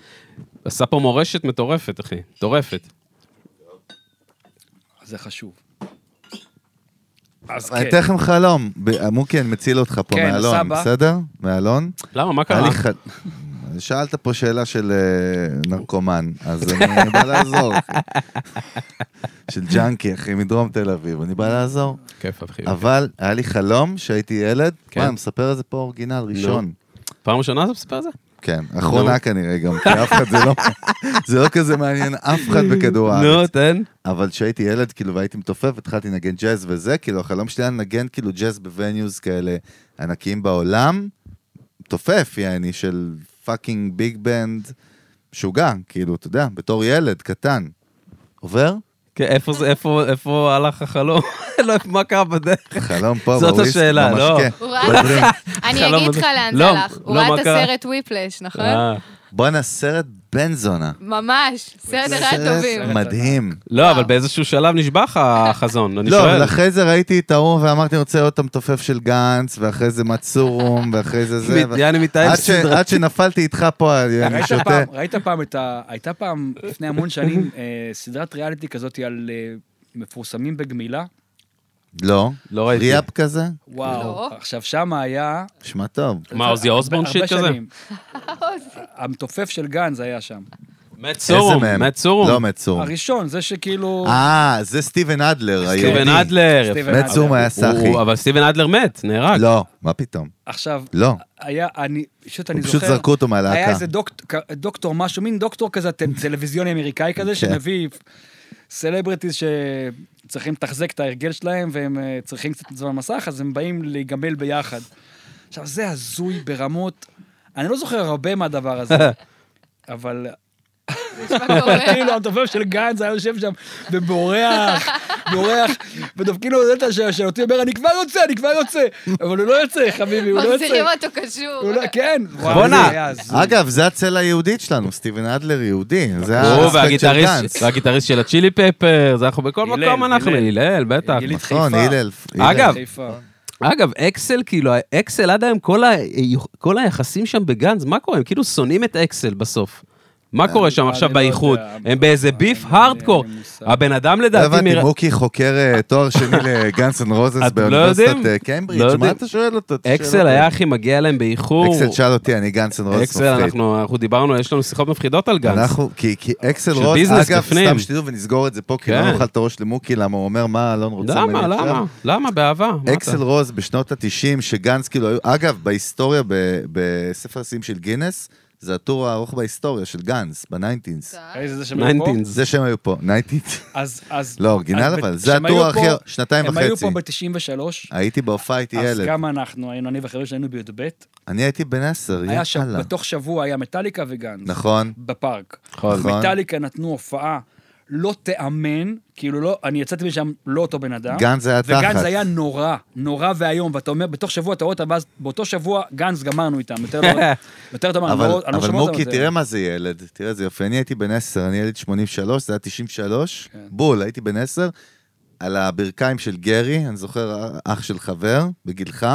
עשה פה מורשת מטורפת, אחי. מטורפת. זה חשוב. אז אני כן, אתן לכם חלום. ב- מוקי, אני מציל אותך פה כן, מאלון, סבא. בסדר? מאלון? למה, מה היה קרה? לי ח- שאלת פה שאלה של אה, נרקומן, אז אני בא [laughs] לעזור, אחי. של ג'אנקי, אחי, מדרום תל אביב, אני בא לעזור. כיף, אחי. אבל היה לי חלום שהייתי ילד, אוקיי, כן. מה, אני מספר את זה פה אורגינל ראשון. פעם ראשונה אתה מספר את זה? כן, אחרונה כנראה גם, כי אף אחד זה [laughs] לא, זה לא כזה מעניין אף אחד בכדור נו, הארץ. תן. אבל כשהייתי ילד, כאילו, והייתי מתופף, התחלתי לנגן ג'אז וזה, כאילו, החלום שלי היה לנגן כאילו ג'אז בווניוז כאלה ענקיים בעולם, תופף, יעני, של פאקינג ביג בנד, משוגע, כאילו, אתה יודע, בתור ילד קטן. [laughs] עובר? כן, איפה זה, איפה, איפה הלך החלום? [laughs] לא, מה קרה בדרך? חלום פה, כן. זאת בוויסק, השאלה, לא. במשקה, הוא ראה- בדרינק. אני חלום אגיד הזה. לך לאן זה לא, הלך. הוא לא, ראה מה את קרה? הסרט וויפלש, נכון? אה. בואנה, סרט בן זונה. ממש, סרט אחד טובים. סרט. מדהים. אה. לא, אבל באיזשהו שלב נשבע לך החזון, אני לא, שואל. אבל אחרי זה ראיתי את ההוא ואמרתי, אני רוצה עוד את המתופף של גנץ, ואחרי זה מצורום, ואחרי זה זה. ו- יעני מתאם עד ש- סדרה. עד שנפלתי איתך פה, אני ראית שותה. פעם- ראית פעם את ה... הייתה פעם, לפני המון שנים, אה, סדרת ריאליטי כזאת על אה, מפורסמים בגמילה. לא. לא ראיתי. ריאפ כזה? וואו. לא. עכשיו, שם היה... נשמע טוב. מה, עוזי אוסבורן הרבה שיט כזה? שנים. המתופף של גנז היה שם. מת איזה סורום, מהם? מת סורום. לא מת סורום. הראשון, זה שכאילו... אה, זה סטיבן אדלר, היהודי. סטיבן אדלר. סטיבן מת סורום היה סאחי. הוא- אבל סטיבן אדלר מת, נהרג. לא, מה פתאום? עכשיו, לא. היה, אני, פשוט אני הוא זוכר... פשוט זרקו אותו מהלהקה. היה איזה דוקטור, דוקטור משהו, מין דוקטור כזה טל- טלוויזיוני אמריקאי כזה, שמביא סלבריטיז שצריכים לתחזק את ההרגל שלהם, והם אה, צריכים קצת זמן מסך, אז הם באים להיגמל ביחד. עכשיו, זה הזוי ברמות... אני לא זוכר הרבה מהדבר הזה, אבל מה קורה? כאילו המתופף של גנץ היה יושב שם ובורח, בורח, כאילו, ודופקים לו את הדלת של אותי, אומר, אני כבר יוצא, אני כבר יוצא. אבל הוא לא יוצא, חביבי, הוא לא יוצא. מחזירים אותו קשור. הוא לא- כן. וואי, בואנה. זה היה הזוי. אגב, זה הצלע היהודית שלנו, סטיבן אדלר יהודי. זה הוא האספקט לא, אה, של גנץ. והגיטריסט והגיטריסט של הצ'ילי פפר, זה אנחנו בכל הלל, מקום אנחנו, הלל. הלל, בטח. הלל. נכון, חיפה. הלל. אגב, חיפה. אגב, אקסל, כאילו, אקסל עד היום, כל, ה... כל היחסים שם בגנז, מה קורה? הם כאילו שונאים את אקסל בסוף. מה קורה שם אני עכשיו לא באיחוד? יודע. הם באיזה ביף הארדקור. אין לי מושג. הבן אדם לא לדעתי... הבנתי, מרא- מוקי חוקר אה, תואר שני לגאנס אנד רוזס אתם לא באוניברסיטת יודעים? אה, לא קיימברידג'. מה יודעים. אתה שואל אותו? אתה שואל אקסל אותו. היה הכי מגיע להם באיחור. אקסל שאל אותי, אני גאנס אנד רוזס אקסל, מפחיד. אנחנו אנחנו דיברנו, יש לנו שיחות מפחידות על גנץ. אנחנו, כי כי אקסל של רוז, ביזנס אגב, בפנים. סתם שתדעו ונסגור את זה פה, כי לא כן. נאכל את הראש למוקי, למה הוא אומר, מה אלון רוצה ממני למה, עכשיו? למה? למה? באהבה. מה אתה- אקסל רוז בשנות ה-90, שגנץ כאילו היו, אגב, בהיסטוריה, ב- בספר השיאים של גינס, זה הטור הארוך בהיסטוריה של גנץ, בניינטינס. איזה זה שהם היו פה? 19s. זה שהם היו פה, ניינטינס. אז, אז... [laughs] לא, אורגינל, אז אבל ב- זה שהם היו הטור הכי, פה- שנתיים הם היו פה וחצי. ב-93, הייתי בהופעה, הייתי אז ילד. גם אנחנו היינו, אני וחברים שלנו בי"ב, אני הייתי בן עשר, היה שם, יאללה. בתוך שבוע היה מטאליקה וגנץ. נכון, בפארק. נכון. מטאליקה נתנו הופעה לא תיאמן, כאילו לא, אני יצאתי משם לא אותו בן אדם. גנץ היה תחת. וגנץ היה נורא, נורא ואיום, ואתה אומר, בתוך שבוע אתה רואה אותם, ואז באותו שבוע גנץ גמרנו איתם. יותר [laughs] לא- יותר אתה אומר, אני אבל, לא- אני לא אבל שומע אותם. מוקי, זה- תראה מה זה ילד, תראה איזה יופי. אני הייתי בן 10, אני ילד 83, זה היה 93, כן. בול, הייתי בן 10, על הברכיים של גרי, אני זוכר אח של חבר, בגילך,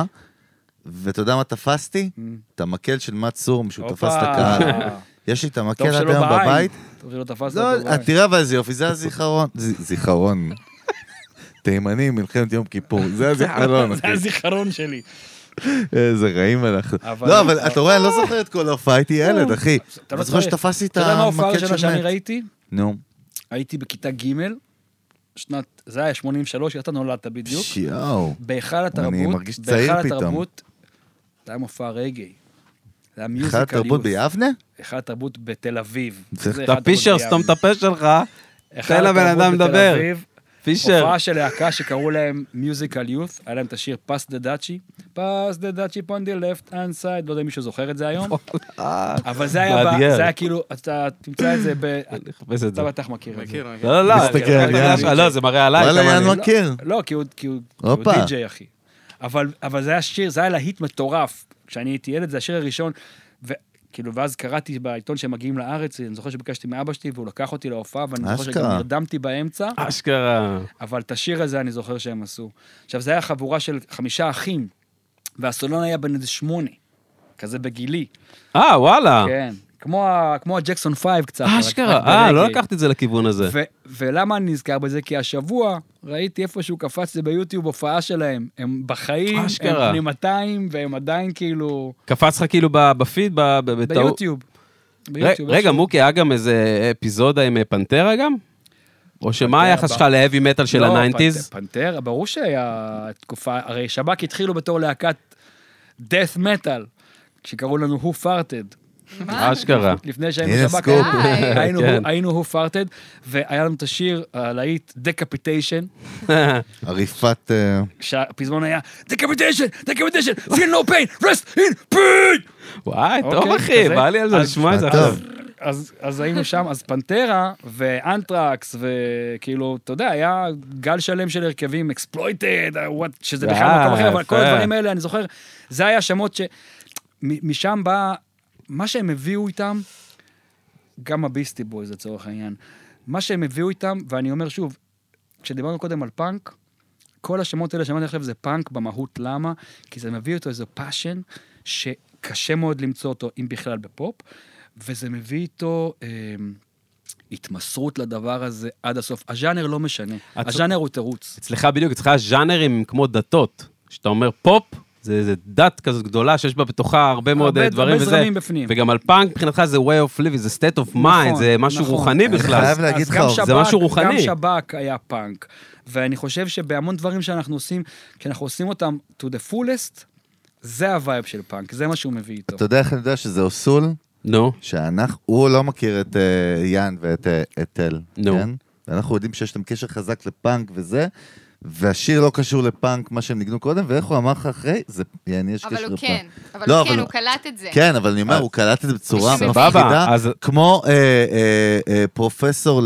ואתה יודע מה תפסתי? את המקל של מאט סורם, שהוא תפס את הופה. הקהל. [laughs] יש לי את המקל טוב עד שלא היום בעין. בבית. טוב שלא תפסת לא, אותו. בעין. תראה אבל איזה יופי, זה הזיכרון. ז- [laughs] זיכרון. תימנים, מלחמת יום כיפור, זה [laughs] הזיכרון. זה אחי. הזיכרון שלי. איזה רעים אנחנו. אבל- לא, אבל אתה רואה, אני לא זוכר את כל ההופעה, הייתי ילד, אחי. אתה לא אני זוכר צריך. שתפסתי את אתה יודע מה ההופעה המקל הראשונה של שאני מת. ראיתי? נו. הייתי בכיתה ג', שנת, זה היה 83, אתה נולדת בדיוק. שיואו. בהיכל התרבות, אני מרגיש בהיכל צעיר פתאום. התרבות, זה היה מופע רגעי. זה היה מיוזיקל אחד התרבות ביבנה? היכל התרבות בתל אביב. צריך זה היכל אתה התרבות פישר, ביבנה. סתום את הפה שלך, היכל תן לבן התרבות אדם בתל לדבר. אביב, פישר. הופעה של להקה שקראו להם מיוזיקל יוץ, היה להם את השיר פס דה דאצ'י, פס דה דאצ'י פונדי לפט אנד סייד, לא יודע אם מישהו זוכר את זה [laughs] היום, אבל זה היה ב- מאתגר. זה היה כאילו, אתה תמצא את זה ב... נחפש את זה. אתה בטח מכיר את זה. מכיר, מכיר. לא, לא, לא. מסתכל על אתה יודע יאן. ש- לא, זה מראה עליי. וואלה, כמה יאן אני- מכיר. לא, כי הוא- כי הוא כי הוא הופה. די-ג'יי, אחי. אבל אבל זה היה שיר, זה היה להיט מטורף. כשאני הייתי ילד, זה השיר הראשון. וכאילו, ואז קראתי בעיתון שהם מגיעים לארץ, אני זוכר שביקשתי מאבא שלי, והוא לקח אותי להופעה, ואני זוכר שגם אשכרה. נרדמתי באמצע, לא- אשכרה. אבל את השיר הזה אני זוכר שהם עשו. עכשיו, זה היה חבורה של חמישה אחים, והסולן היה בן איזה שמונה, כזה בגילי. אה, וואלה. כן. כמו ה- כמו הג'קסון פייב קצת. רק- רק אשכרה. אה, לא ברגעי. לקחתי את זה לכיוון הזה. ו- ולמה אני נזכר בזה? כי השבוע ראיתי איפשהו קפץ לי ביוטיוב הופעה שלהם. הם בחיים, אשכרה. הם בני 200, והם עדיין כאילו... קפץ לך כאילו ב- בפיד, ב- ב- בטעות. ביוטיוב. ביוטיוב, לא ר- רגע, איפשהו. מוקי, היה גם איזה אפיזודה עם אה, פנטרה גם? או שמה פנטרה היחס ב- שלך להאבי מטאל של לא, הניינטיז? פנט- פנטרה, ברור שהיה תקופה... הרי שב"כ התחילו בתור להקת death metal, כשקראו לנו Who farted. אשכרה. לפני שהיינו הנה שב"כ, סקופ. היי. היינו- כן. היינו Who farted, והיה לנו את השיר הלהיט Decapitation, לא. עריפת... אה, שהפזמון היה Decapitation, Decapitation, feel no pain, rest in pain! וואי, טוב אוקיי, אחי, כזה. בא לי על זה אז- לשמוע את זה טוב. עכשיו. אז, אז היינו שם, אז פנטרה ואנטרקס, וכאילו, אתה יודע, היה גל שלם של הרכבים, אקספלויטד, שזה בכלל אה, מקום אחר, אבל כל יפה. הדברים האלה, אני זוכר, זה היה שמות ש... מ- משם בא, מה שהם הביאו איתם, גם הביסטי בויז לצורך העניין, מה שהם הביאו איתם, ואני אומר שוב, כשדיברנו קודם על פאנק, כל השמות האלה שאמרתי עכשיו זה פאנק במהות, למה? כי זה מביא איתו איזה פאשן שקשה מאוד למצוא אותו, אם בכלל בפופ, וזה מביא איתו אה, התמסרות לדבר הזה עד הסוף. הז'אנר לא משנה, את- הז'אנר הוא תירוץ. אצלך בדיוק, אצלך ז'אנרים כמו דתות. כשאתה אומר פופ, זה איזה דת כזאת גדולה שיש בה בתוכה הרבה מאוד הרבה- אה, דברים הרבה וזה. זרמים בפנים. וגם על פאנק מבחינתך זה way of living, זה state of mind, זה משהו נכון. רוחני אני בכלל. חייב להגיד אז לך, גם זה שב"כ- משהו רוחני. גם שב"כ היה פאנק. ואני חושב שבהמון דברים שאנחנו עושים, כשאנחנו עושים אותם to the fullest, זה הווייב של פאנק, זה מה שהוא מביא איתו. אתה יודע איך אני יודע שזה אוסול? נו, שאנחנו, הוא לא מכיר את אה, יאן ואת אה, את טל, נו. כן? ואנחנו יודעים שיש להם קשר חזק לפאנק וזה, והשיר לא קשור לפאנק, מה שהם ניגנו קודם, ואיך הוא אמר לך אחרי, זה, יעני, יש קשר אבל לפאנק. הוא כן, אבל לא, הוא כן, אבל- הוא קלט את זה. כן, אבל אני אומר, הוא קלט את זה בצורה סבבה, מפחידה, אז- כמו אה, אה, אה, פרופסור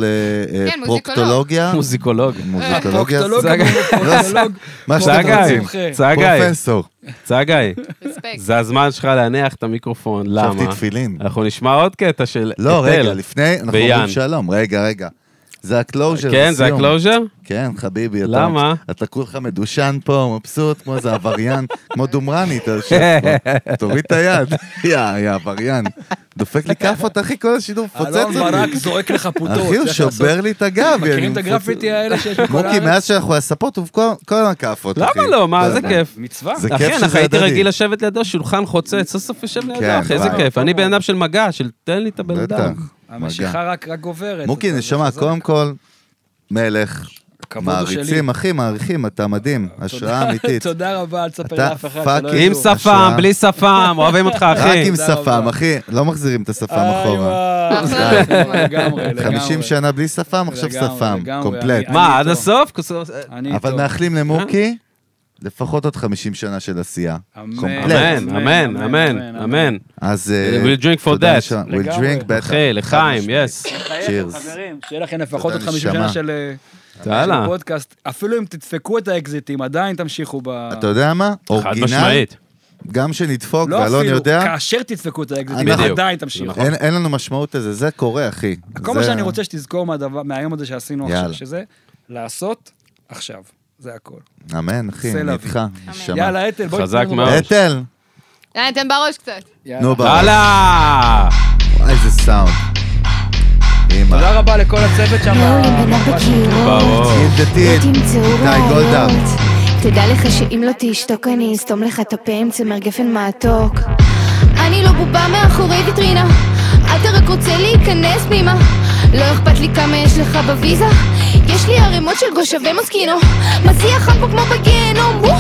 כן, לפרוקטולוגיה. אה. מוזיקולוג. מוזיקולוגיה. פרוקטולוג, צגה- פרוקטולוג, מה צגה, שאתם רוצים. צגאי, פרופסור. צגאי, רספקט. זה הזמן שלך להניח את המיקרופון, חשבתי למה? תפילין. אנחנו נשמע עוד קטע של לא, אתל. רגע, לפני, אנחנו ויאן. אומרים שלום. רגע, רגע. זה הקלוז'ר, כן, זה הסיום. הקלוז'ר? כן, חביבי. אתה- למה? אתה כולך מדושן פה, מבסוט, כמו איזה עבריין, [laughs] כמו דומרני, אתה יושב [laughs] פה. תוריד את היד. יא, יא עבריין. דופק לי כאפות, אחי, כל השידור מפוצץ אלון אותי. ברק זורק לך פוטות. אחי, הוא צריך לעשות- כן, שובר לי את הגב. אני מכירים את מפוצץ- הגרפיטי האלה שיש בכל מוקי, הארץ? מאז שאנחנו על הספות, הוא כל- כל הזמן כאפות, אחי. למה לא? מה, אתה זה יודע. כיף. מצווה. זה כיף אחי, שזה אנחנו הייתי הדדי. רגיל לשבת לידו, שולחן חוצץ, סוף סוף יושב לידו, כן, אחי, איזה וואי. כיף. אני בן אדם של מגע, של תן לי את הבן אדם. בטח. מגע. המשיכה רק רק גוברת. מוקי, אז זה נשמה, חזק. קודם כל, מלך. הכבוד הוא שלי. מעריצים, אחי, מעריכים, אתה מדהים. השראה אמיתית. תודה רבה, אל תספר אתה לאף אחד. שלא פאקינג- עם ידעו. ספק, שפם, השראה. בלי שפם, אוהבים אותך, רק אחי. עם תודה שפם, רבה. אחי, לא מחזירים את השפם איי, אחורה. וואו. [laughs] סליחה. לגמרי, לגמרי. 50 שנה בלי שפם, עכשיו לגמרי, שפם, לגמרי. קומפלט. אני מה, עד איתו. אה, הסוף? אני אבל איתו. מאחלים למוקי לפחות עוד 50 שנה של עשייה. אמן. קומפלט. אמן, אמן, אמן, אמן. אז... אה, We'll drink for תודה, that. נשמה. We'll לגמרי. drink better. אחי, לחיים, יס. חייכם, Cheers. חברים, שיהיה לכם לפחות עוד תודה, 50 שנה נשמה. של אה, יאללה. של פודקאסט. אפילו אם תדפקו את האקזיטים, עדיין תמשיכו ב... אתה יודע מה? חד אורגינל, משמעית. גם שנדפוק, לא ואלון אפילו, יודע, כאשר תדפקו את האקזיטים, בדיוק. עדיין תמשיכו. אין- אין לנו משמעות לזה, זה קורה, אחי. כל מה זה- שאני רוצה שתזכור מהדבר- מהיום הזה שעשינו עכשיו, יאללה. שזה לעשות עכשיו. זה הכל. אמן. אמן, אחי, אני סלע איתך, נשמה. יאללה, אתל, בואי חזק תתנו לנו מאוד. בראש. אתל, יאללה, ניתן בראש קצת. יאללה. נו, ברור. יאללה! איזה סאונד. אמא. תודה רבה לכל הצוות שם. עולים בין ארבע קירות, ברור. ילדתית. לא תמצאו איתי גולדהר. ראיות. תדע לך שאם לא תשתוק אני אסתום לך את הפה עם צמר גפן מתוק. אני לא בובה מאחורי ויטרינה, אתה רק רוצה להיכנס פנימה. לא אכפת לי כמה יש לך בוויזה, יש לי ערימות של גושבי מוסקינו. מסיע חם פה כמו בגיהנום, וואו.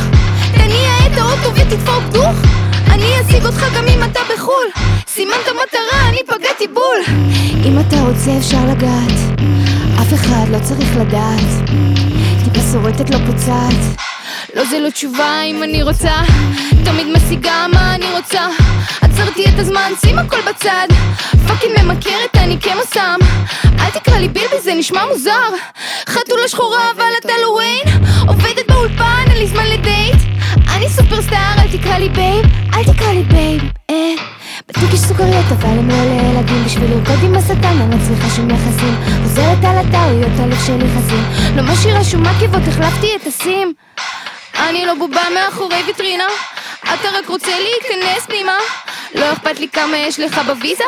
תניע את האוטו ותדפוק דוך. אני אשיג אותך גם אם אתה בחו"ל. סימנת מטרה, אני פגעתי בול. אם אתה רוצה אפשר לגעת, אף אחד לא צריך לדעת. טיפה שורטת לא פוצעת לא זה לא תשובה אם אני רוצה תמיד משיגה מה אני רוצה עצרתי את הזמן, שים הכל בצד פאקינג ממכרת, אני כמו סם אל תקרא לי בילבי, זה נשמע מוזר חתולה שחורה אבל אתה לא ויין עובדת באולפן, אין לי זמן לדייט אני סופרסטאר, אל תקרא לי בייב אל תקרא לי בייב, אה בדיוק יש סוכריות אבל הם לא לילדים בשביל לרקוד עם השטן אני לא צריכה שום יחסים עוזרת על הטעויות הלב שלי חסין לא משאירה שום עקבות החלפתי את הסים אני לא בובה מאחורי ויטרינה אתה רק רוצה להיכנס פנימה לא אכפת לי כמה יש לך בוויזה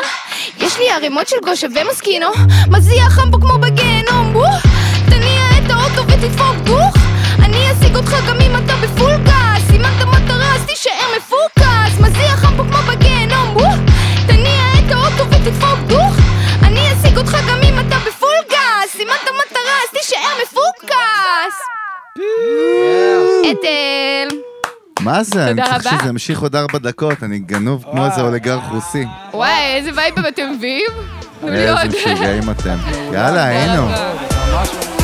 יש לי ערימות של גושה ומוסקינו מזיע חם פה כמו בגיהנום וואו תניע את האוטו ותדפוק דוך אני אשיג אותך גם אם אתה בפול גז סימנת מטרה אז תישאר מפוקס מזיע חם פה כמו בגיהנום וואו תניע את האוטו ותדפוק דוך אני אשיג אותך גם אם אתה בפול גז סימנת מטרה אז תישאר מפוקס אתל מה זה? אני תודה צריך רבה. שזה ימשיך עוד ארבע דקות, אני גנוב כמו איזה אוליגרך רוסי. וואי, איזה וייב אתם מביאים? לא תנו לי איזה עוד. [laughs] משוגעים אתם. יאללה, היינו. יאללה.